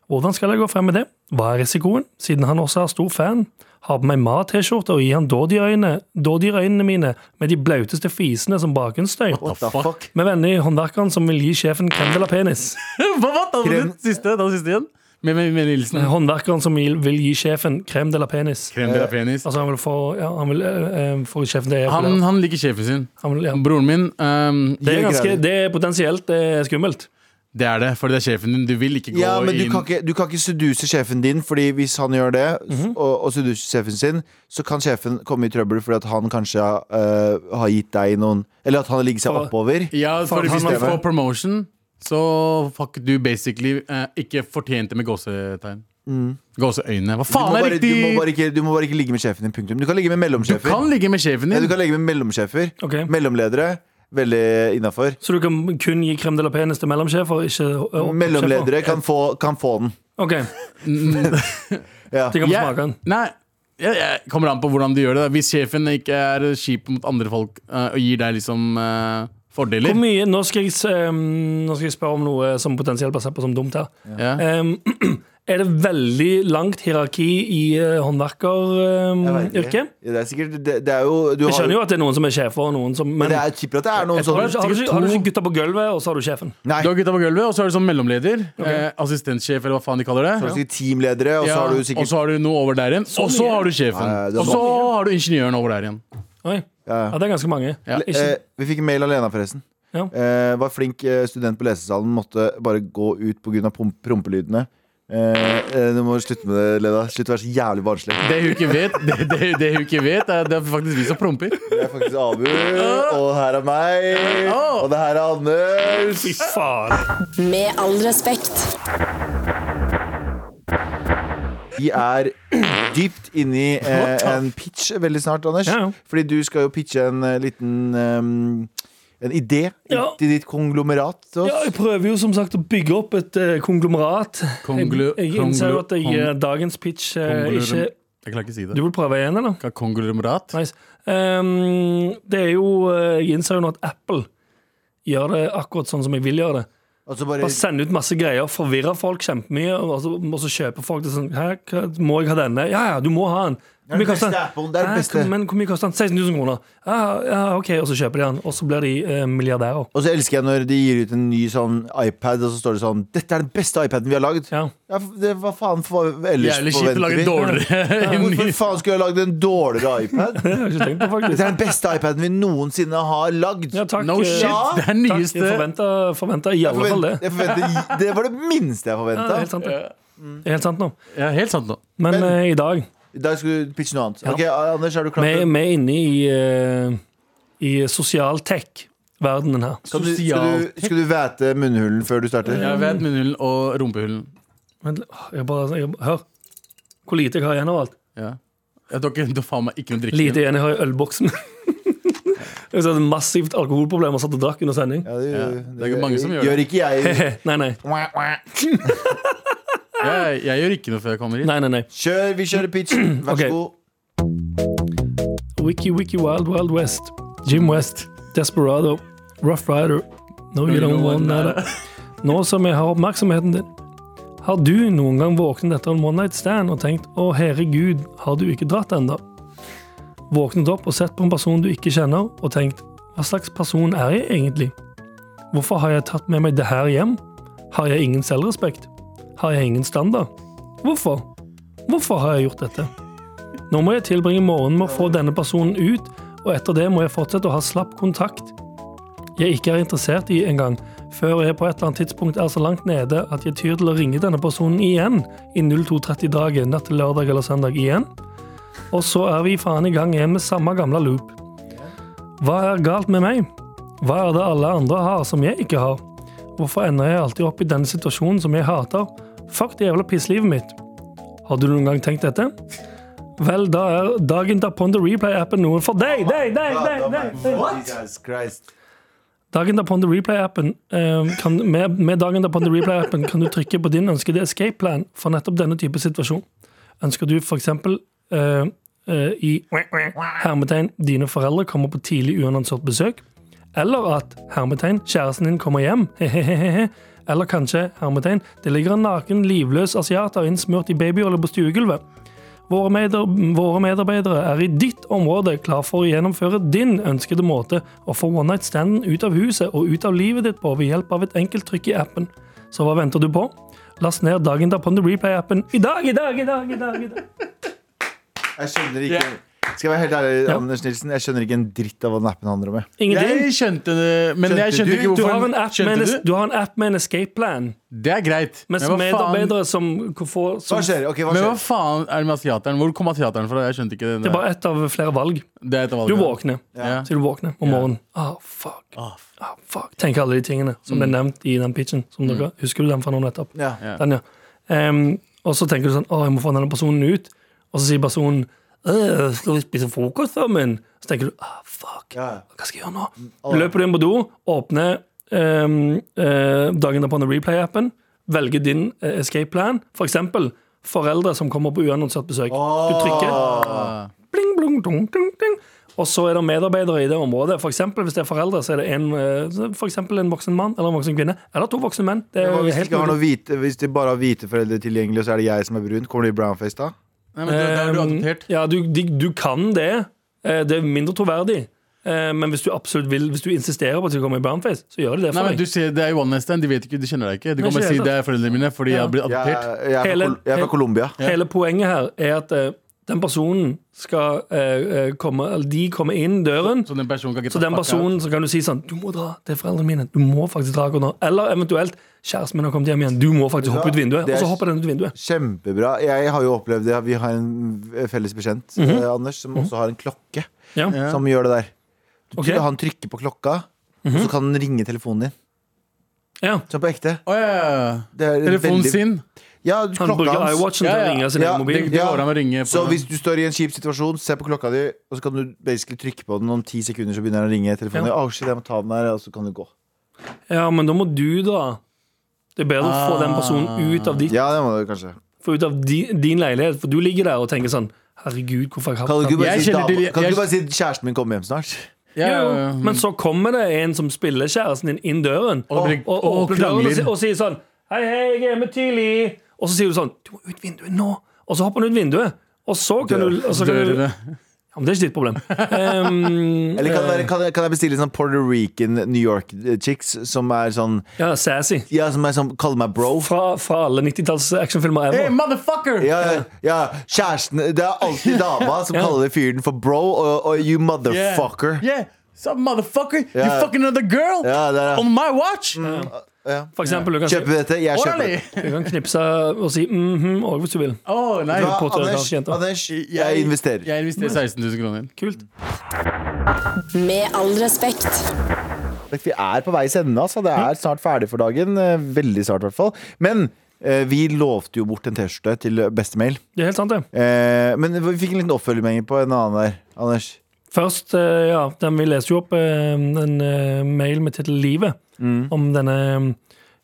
S2: Hvordan skal jeg gå frem med det? Hva er risikoen, siden han også er stor fan? Har på meg mat-T-skjorte og gir han dådyrøyne- dådyrøynene mine med de blauteste fisene som bakgrunnsstøy.
S1: What the fuck?
S2: Med venner i håndverkeren som vil gi sjefen krendel av penis.
S3: Hva, hva? Ta den
S1: Krem-
S3: siste, ta den siste igjen. Med, med, med Nilsen.
S2: Håndverkeren som vil vil gi sjefen krem de la penis.
S3: Krem de la penis.
S2: Altså, han vil få, ja, han vil, eh, eh, få sjefen til å
S3: Han,
S2: ejakulere.
S3: han liker sjefen sin.
S2: Han vil- ja.
S3: Broren min ehm,
S2: Det er,
S1: Jeg
S2: ganske,
S1: greier.
S2: det er potensielt det er skummelt.
S3: Det er det, for det er sjefen din. Du vil ikke gå
S1: Ja, men du
S3: inn
S1: kan, ikke, du kan ikke seduse sjefen din, Fordi hvis han gjør det, og, og seduser sjefen sin, så kan sjefen komme i trøbbel fordi at han kanskje eh, har gitt deg noen Eller at han har ligget seg
S2: For-
S1: oppover.
S3: Ja, for
S1: Fuck
S3: hvis du
S1: systemet.
S3: får promotion, så fuck du basically eh, ikke fortjente med gåsetegn. Gåseøyne. Hva
S1: Mm. Du må,
S3: faen er
S1: bare, du,
S3: riktig?
S1: må bare ikke, du må bare ikke ligge med sjefen din. Punktum. Du kan ligge med
S3: Du
S1: mellomsjefer.
S3: kan ligge med sjefen
S1: Ja, du
S3: din.
S1: kan ligge med mellomsjefer.
S2: Ok.
S1: Mellomledere. Veldig innafor.
S2: Så du kan kun gi krem de la penis til mellomsjefer, ikke eh, oppsjefer?
S1: Mellomledere kan få, kan få den.
S2: Ok,
S1: Ja.
S2: de kan få
S3: Jeg-
S2: smake den.
S3: Nei, jeg, jeg kommer an på hvordan du gjør det. da. Hvis sjefen ikke er kjip mot andre folk eh, og gir deg liksom eh,
S2: Hvor
S3: fordeler
S2: mye, nå, skal jeg, s- ehm, nå skal jeg spørre om noe som potensielt blir sett på som dumt her.
S3: ja.
S2: Ehm, er det veldig langt hierarki
S1: Jeg
S2: i eh,
S1: vet ikke.
S2: håndverkeryrket.
S1: Ja, det er sikkert Det, det er jo du har-
S2: Jeg skjønner jo at det er noen som er sjefer, og noen som
S1: Men
S2: Men
S1: det
S2: har
S1: er tipper at det er noen
S2: du,
S1: sånn
S2: ikke- har, du, ikke- har du ikke gutta på gulvet, og så har du sjefen?
S1: Nei.
S3: Du har gutta på gulvet, og så er du sånn mellomleder. Eh, assistentsjef, eller hva faen de kaller
S1: Du
S3: det.
S1: har sikkert teamledere, og så
S3: Ja,
S1: har du
S3: Og
S1: sikkert Sånn,
S3: så har du noe over der igjen. Og så
S2: mye.
S3: har du sjefen.
S1: Ja, ja, det er
S3: Og så har du ingeniøren over der igjen.
S2: Oi.
S1: ja.
S2: Ja, det er ganske mange.
S3: Ja.
S2: Ikke,
S1: Eh, vi fikk en mail av Lena, forresten.
S2: Ja.
S1: Eh, var flink eh, student på lesesalen, måtte bare gå ut pga. prompelydene. Eh, eh, du må slutte med det, Lena. Slutt å være så jævlig barnslig.
S3: Det hun ikke vet, det, det, det hun ikke vet er, det er faktisk vi som promper.
S1: Det er faktisk Abu, og her er meg, og det her er Anders.
S2: fy faen.
S6: Med all respekt.
S1: Vi er dypt inni eh, en pitch veldig snart, Anders.
S2: Ja, ja.
S1: Fordi du skal jo pitche en eh, liten em, En idé
S2: Ja.
S1: til ditt konglomerat. til oss.
S2: Ja, jeg prøver jo som sagt å bygge opp et eh, konglomerat.
S3: Konglo-
S2: jeg, jeg innser jo
S3: konglo-
S2: at jeg, eh, dagens pitch eh,
S3: Konglomerat.
S2: ikke
S3: Jeg klarer ikke å si
S2: Du
S3: det.
S2: vil prøve igjen, eller?
S3: Hva, Konglomerat?
S2: Nice. Ehm, det er jo eh, Jeg innser jo nå at Apple gjør det akkurat sånn som jeg vil gjøre det.
S1: Og så bare
S2: Bare sende ut masse greier, forvirre folk kjempemye, og så, og så kjøper folk det sånn Hæ, hva, må jeg ha denne? Ja, ja, du må ha den. Hvor
S1: den
S2: mye koster
S1: beste
S2: den?
S1: Applen, det er den
S2: Hæ,
S1: beste.
S2: Men hvor mye koster den? 16 000 kroner. Ja, ja, OK, og så kjøper de den. Og så blir de eh, milliardærer.
S1: Og så elsker jeg når de gir ut en ny sånn iPad, og så står det sånn Dette er den beste iPaden vi har lagd.
S2: Ja.
S1: Ja, f- det, hva faen for, ellers
S3: Jævlig kjipt å lage dårligere
S1: Hvorfor faen skulle jeg lagd en dårligere iPad?
S2: Det har jeg ikke tenkt på,
S1: Dette er
S2: faktisk.
S1: den beste iPaden vi noensinne har lagd.
S2: Ja, takk.
S3: No
S2: eh,
S3: shit, det er
S2: Takk, jeg
S3: nyeste
S2: forventa, forventa i
S1: Jeg
S2: alle fall det.
S1: forvent- jeg forventer- det var det minste jeg
S2: Ja, det er
S1: forventa.
S2: helt sant, det. Det er helt sant nå.
S3: Ja, helt sant nå.
S2: Men
S1: Men-
S2: eh, i dag
S1: I dag skal du pitche noe annet.
S2: Ja.
S1: Ok, Anders, er du klar?
S2: Vi,
S1: til-
S2: vi er inne i, eh, i sosial tech-verdenen her.
S1: Skal du, skal, du, skal du væte munnhulen før du starter?
S3: Jeg vet munnhulen og rumpehullen.
S2: Men, åh, jeg bare, jeg, hør hvor lite jeg har igjen av alt.
S3: Ja. Jeg tok ikke- du faen meg ikke noe drikke.
S2: Lite igjen jeg har i ølboksen. Jeg hadde massivt alkoholproblemer og satt og drakk under sending.
S1: Ja, det,
S3: Ja, det er ikke mange som gjør det.
S1: Gjør ikke jeg.
S2: Nei, nei.
S3: Jeg, jeg gjør ikke noe før jeg kommer hit.
S2: nei, nei, nei.
S1: Kjør, vi kjører pitchen. Vær
S2: Ok.
S1: så god.
S2: Wiki Wiki Wild Wild West. Jim West. Desperado. Rough Rider. No, you don't want that. Nå som jeg har oppmerksomheten din. Har du noen gang våknet etter en one night stand og tenkt 'Å, herregud, har du ikke dratt ennå?' Våknet opp og sett på en person du ikke kjenner, og tenkt 'Hva slags person er jeg egentlig?' Hvorfor har jeg tatt med meg det her hjem? Har jeg ingen selvrespekt? Har jeg ingen standard? Hvorfor? Hvorfor har jeg gjort dette? Nå må jeg tilbringe morgenen med å få denne personen ut, og etter det må jeg fortsette å ha slapp kontakt. Jeg ikke er interessert i engang, før jeg på et eller annet tidspunkt er så langt nede at jeg tyr til å ringe denne personen igjen i 0230-dagen, natt til lørdag eller søndag igjen. Og så er vi faen i gang igjen med samme gamle loop. Hva er galt med meg? Hva er det alle andre har som jeg ikke har? Hvorfor ender jeg alltid opp i denne situasjonen som jeg hater? Fuck det jævla pisslivet mitt. Har du noen gang tenkt dette? Vel, da er dagen da Ponder Replay-appen noe for deg! deg, deg, deg, deg, deg.
S1: Jesus Christ.
S2: Dagen derpå on the replay-appen eh, kan- med, med dagen derpå on the replay-appen kan du trykke på din ønskede escape plan for nettopp denne type situasjon. Ønsker du f.eks. Uh, i hermetegn dine foreldre kommer på tidlig uannonsert besøk, eller at hermetegn kjæresten din kommer hjem, hehehehe, eller kanskje hermetegn det ligger en naken, livløs asiater innsmurt i babyolje på stuegulvet. Våre, meder, våre medarbeidere er i ditt område klar for å gjennomføre din ønskede måte å få one night standen ut av huset og ut av livet ditt på ved hjelp av et enkelt trykk i appen. Så hva venter du på? Last ned dagen derpå on the replay-appen i dag, i dag, i dag! i dag, i dag.
S1: Jeg skjønner ikke Skal jeg være helt ærlig, Anders Nilsen, jeg skjønner ikke en dritt av hva den appen handler om. jeg.
S2: Ingenting.
S3: Jeg skjønte det, men jeg
S1: Skjønte
S3: skjønte
S1: du?
S3: ikke
S2: Du
S3: hvorfor.
S2: har en app med en,
S3: skjønte du?
S2: du har en, app med en escape plan,
S3: Det er greit. Men
S2: mens
S3: hva faen,
S2: medarbeidere som får
S1: Hva
S2: som, Det
S1: skjer? Ok, hva
S3: men hva
S1: skjer?
S3: faen er det med asiateren? Hvor kom asiateren fra? Jeg skjønte ikke det.
S2: er bare ett av flere valg.
S3: Det er et valg.
S2: Du våkner.
S3: Ja.
S2: Så du våkner om morgenen. Ah, fuck. Ah, fuck. Tenk alle de tingene som
S3: Mm.
S2: ble nevnt i den pitchen. Som dere, husker du den fra nå nettopp?
S1: Ja.
S2: Den, ja. Em, og så tenker du sånn Å, jeg må få denne personen ut. Og så sier personen «Øh, Skal vi spise frokost sammen? Så tenker du ah, fuck.
S1: Ja.
S2: Hva skal jeg gjøre nå?
S3: Mm,
S2: Løper du inn på do, åpner em, eh, dagen derpå under replay-appen, velger din eh, escape plan. For eksempel
S3: Ah.
S2: foreldre som kommer på uannonsert besøk. Du trykker. Bling, blong, dong, dong, dong. Og så er det medarbeidere i det området. For eksempel, hvis det er foreldre, så er det en, eh, så for eksempel en voksen mann eller en voksen kvinne. Eller to voksne menn. Det er
S1: Hva
S2: jo
S1: Hvis de,
S2: helt
S1: ikke har noe
S2: mulig.
S1: hvite, hvis de bare har hvite foreldre tilgjengelig, og så er det jeg som er brun, kommer de i brownface da?
S3: Nei, men da, da er du
S2: Eh,
S3: adoptert.
S2: Ja, du, de, du kan det. Eh, Det er mindre troverdig. Eh, Men hvis du absolutt vil, hvis du insisterer på at du kommer i brownface, så gjør de det
S3: Nei,
S2: for
S3: men du
S2: deg.
S3: ser, Det er jo one night stand, de vet ikke, de kjenner deg ikke. Du
S2: Nei,
S3: kan bare
S2: ikke
S3: si
S2: helt
S3: det er foreldrene mine fordi jeg har
S1: Jeg,
S3: blitt adoptert.
S1: jeg, er, fra,
S2: Hele-
S1: Col- jeg er
S2: hele-
S1: fra Colombia.
S2: Hele poenget her er at eh, den personen skal eh, eh, komme Eller de kommer inn døren.
S3: Så den personen kan ikke
S2: Så den
S3: ta pakka.
S2: personen så kan du si sånn Du må dra, det er foreldrene mine. Du må faktisk dra akkurat nå. Eller eventuelt kjæresten min har kommet hjem igjen. Du må faktisk hoppe ut vinduet.
S1: det
S2: Og
S1: er-
S2: så hopper den ut vinduet.
S1: Kjempebra. Jeg har jo opplevd det. Vi har en felles bekjent,
S2: Mhm.
S1: eh, Anders, som også har en klokke
S2: Ja.
S3: Ja.
S1: som gjør det der. Du,
S2: Ok. Mhm.
S1: Han trykker på klokka, og så kan den ringe telefonen din.
S2: ja.
S1: Så på ekte.
S3: Å, ja, ja.
S1: Det er
S3: Telefonen
S1: veldig-
S3: sin.
S1: Ja,
S2: Han
S1: klokka
S2: bruker
S1: hans.
S2: iWatchen
S3: Ja,
S2: til
S3: ja.
S2: å ringe sin
S1: Ja,
S2: egen mobil.
S3: Det, det går an å ringe på
S1: Så hvis du står i en kjip situasjon, se på klokka di, og så kan du basically trykke på den om ti sekunder, så begynner den å ringe telefonen.
S2: Ja.
S1: Åh, shit, jeg må ta den her, og så kan du gå.
S2: Ja, men da må du dra. Det er bedre å få den personen ut av, ditt,
S1: Ja, det må du kanskje.
S2: få ut av di, din leilighet, for du ligger der og tenker sånn Herregud, hvorfor har jeg
S1: Kan du ikke
S2: hatt den?
S1: bare,
S3: Jeg
S1: si,
S3: kjenner
S1: dama-
S3: til-
S1: kan du
S3: jeg-
S1: ikke bare si 'kjæresten min kommer hjem snart'?
S3: ja,
S2: Jo,
S3: ja, ja.
S2: men så kommer det en som spiller kjæresten din inn døren og,
S3: Og det blir-
S2: og,
S3: og
S2: åpner døren og,
S3: krangler.
S2: si- og sier sånn Hei, hei, jeg er hjemme tidlig. Og så sier du sånn Du må ut vinduet nå. Og så hopper han ut vinduet. Og så kan du, og så kan du ja,
S3: Dørene.
S2: men Det er ikke ditt problem.
S3: Mm.
S2: Ehm,
S1: Eller kan,
S3: Eh.
S1: det være, kan, jeg- kan jeg bestille sånn Puerto Rican New York eh, chicks som er sånn
S2: ja, sassy.
S1: Ja, som er sånn Kaller meg bro.
S2: Fra, fra alle 90-talls actionfilmer
S3: Hey,
S2: ever.
S3: motherfucker!
S1: Ja, ja, ja, kjæresten Det er alltid dama som kaller fyren for bro og, og you
S3: Yeah.
S1: motherfucker.
S3: Yeah. Some motherfucker,
S1: Ja.
S3: you fucking another girl
S1: Ja, det er-
S3: on my watch!
S2: For eksempel, du kan, si,
S1: Kjøper du dette? Jeg kjøper
S3: Orally!
S1: det.
S2: du kan knipse og si mhm, og hvis du vil.
S3: Oh, nei.
S1: Ja,
S2: På
S1: Anders,
S2: tørrkant, jenta.
S1: Anders, jeg investerer.
S3: Jeg investerer 16 000 kroner.
S2: Kult.
S6: Med all respekt.
S1: Vi er på veis ende, altså. Det er snart ferdig for dagen. eh, Veldig snart, i hvert fall. Men eh, vi lovte jo bort en T-skjorte til bestemail.
S2: Det er helt sant, det.
S1: Eh, men vi fikk en liten oppfølging på en annen der, Anders.
S2: Først, eh, ja, den vi leste jo opp eh, en eh, mail med tittel 'Livet'
S1: Mm.
S2: om denne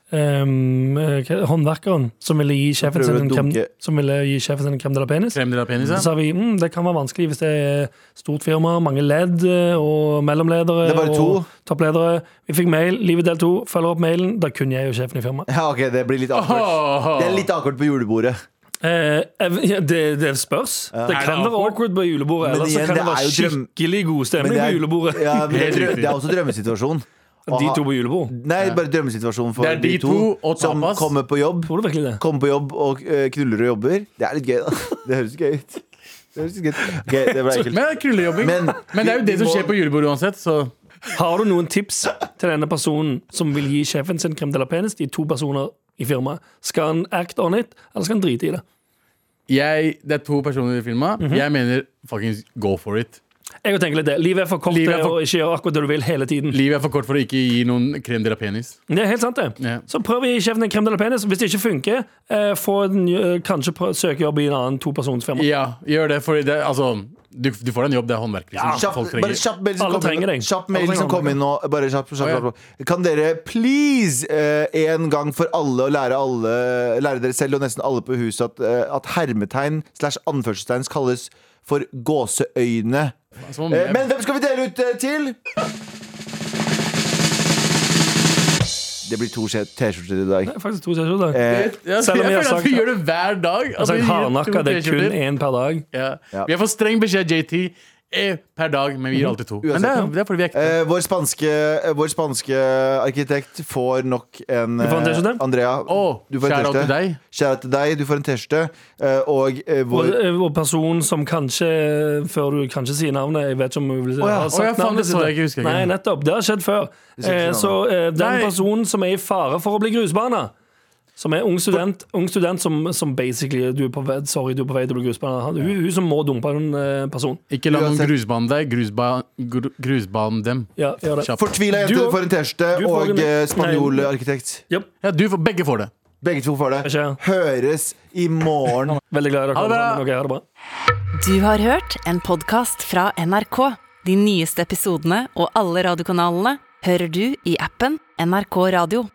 S2: eh, eh, hva- håndverkeren som ville gi sjefen
S1: prøver
S2: sin en
S1: å
S2: krem,
S1: dunke.
S2: som ville gi sjefen sin en krem de la penis.
S3: Krem de la penis,
S2: Så
S3: ja.
S2: sa vi mm, det kan være vanskelig hvis det er stort firma, mange ledd eh, og mellomledere
S1: Det er bare to.
S2: og toppledere. Vi fikk mail. Livet del to. Følger opp mailen. Da kunne jeg jo sjefen i firmaet.
S1: Ja, ok, det blir litt awkward.
S3: Åh.
S1: Det er litt awkward på julebordet.
S2: Eh, ev- ja, det, det spørs. Det
S3: Er det
S2: kan være
S3: awkward?
S2: awkward på julebordet.
S1: Men
S2: Eller så
S1: igjen,
S2: kan
S1: det
S2: det være
S1: er jo drøm-
S2: skikkelig god stemning på julebordet.
S1: ja, men det, er,
S3: Helt
S1: drø-
S3: riktig.
S1: det er også drømmesituasjon. Å
S2: De
S1: ha-
S2: to på julebord.
S1: Nei, bare drømmesituasjonen for
S3: Det er
S1: de
S3: de
S1: to,
S3: to og
S1: som
S3: tapas.
S1: kommer på jobb.
S2: Tror du virkelig det?
S1: Kommer på jobb og eh, knuller og jobber. Det er litt gøy, da. Det høres gøy ut. Det høres gøy ut. Ok, det ble ekkelt.
S3: Men det er krullejobbing. Men,
S1: Men-
S3: det er jo det
S1: vi
S3: som
S1: må-
S3: skjer på julebordet uansett, så
S2: Har du noen tips til denne personen som vil gi sjefen sin krem de la penis? De to personer i firmaet. Skal han act on it, eller skal han drite i det?
S3: jeg, Det er to personer i filma.
S2: Mhm.
S3: Jeg mener fuckings go for it.
S2: Jeg tenker litt det. Livet er for kort
S3: Livet
S2: til
S3: er for-
S2: å ikke gjøre akkurat det du vil hele tiden.
S3: Livet er for kort for å ikke gi noen krem de la penis.
S2: Det er helt sant, det.
S3: Ja.
S2: Så prøv å gi sjefen en krem de la penis. Hvis det ikke funker, eh, få en, eh, kanskje prø- søke jobb i en annen topersonsfirma.
S3: Ja, gjør det, for det, altså, du, du får deg en jobb, det er håndverk. Liksom.
S1: Kjapp,
S3: Folk
S1: bare
S3: trenger
S1: kjapp mail som
S2: Alle
S1: kom
S2: trenger
S1: inn,
S2: deg.
S1: kjapp
S2: Alle
S1: mail
S2: trenger
S1: som kom inn nå. Bare kjapp, kjapp,
S3: Å, ja.
S1: kjapp, kjapp. Kan dere please eh, en gang for alle og lære, alle, lære dere selv og nesten alle på huset at, eh, at hermetegn slash anførselstegn kalles for gåseøyne?
S3: Som om
S1: Eh,
S3: jeg-
S1: men hvem skal vi dele ut eh, til? Det blir to skje- T-skjorter i dag.
S2: Det er faktisk to T-skjorter.
S1: Eh,
S3: Ja,
S2: Selv om
S3: jeg
S2: jeg har
S3: føler at vi
S2: sagt-
S3: gjør det hver dag. at
S2: Altså,
S3: vi
S2: jeg
S3: gir to
S2: hardnakka, det er kun
S3: T-skjorter.
S2: én per dag.
S3: ja.
S1: Ja.
S3: Vi har fått streng beskjed, JT, eh, per dag, men vi
S2: Mhm.
S3: gir alltid to. Men det er, det er fordi vi er ekte.
S1: Eh, vår, spanske, eh, vår spanske arkitekt får nok en
S2: får en
S1: eh,
S2: T-skjorte?
S1: Andrea,
S3: Å,
S1: du får en
S3: shout out
S1: T-skjorte.
S3: til deg.
S1: Shout out til deg. Du får en T-skjorte. eh, og eh,
S2: Og,
S1: vår
S2: og personen som kanskje, eh, før du kanskje sier navnet Jeg vet ikke om hun vil
S3: ja.
S2: har
S3: Å ja, faen, det så
S2: sitt.
S3: jeg ikke, husker jeg ikke.
S2: Nei, nettopp. Det har skjedd før.
S1: ikke
S2: Eh,
S1: navnet.
S2: så eh, den
S3: Nei.
S2: personen som er i fare for å bli grusbana som er ung student, ung student som, som basically du er på vei, Sorry, du er på vei til å bli grusbana. Han- Hun, hun som må dumpe en eh, person.
S3: Ikke la noen
S1: Uansett.
S3: grusbane deg. Grusba, gru, grusban dem.
S2: Ja, gjør det.
S3: Kjapt.
S1: fortvila
S2: eh, Du
S1: jente
S2: og-
S1: får en T-skjorte,
S2: du får
S1: og
S2: en-
S1: eh,
S2: nei.
S1: spanjol arkitekt.
S2: Japp.
S3: Ja, du får, begge får det.
S1: Begge to får det.
S2: Ikke?
S1: Høres i morgen.
S2: Veldig glad i dere.
S3: Ha det bra.
S2: alle sammen. Ok, ha det bra.
S5: Du har hørt en podkast fra NRK. De nyeste episodene og alle radiokanalene hører du i appen NRK Radio.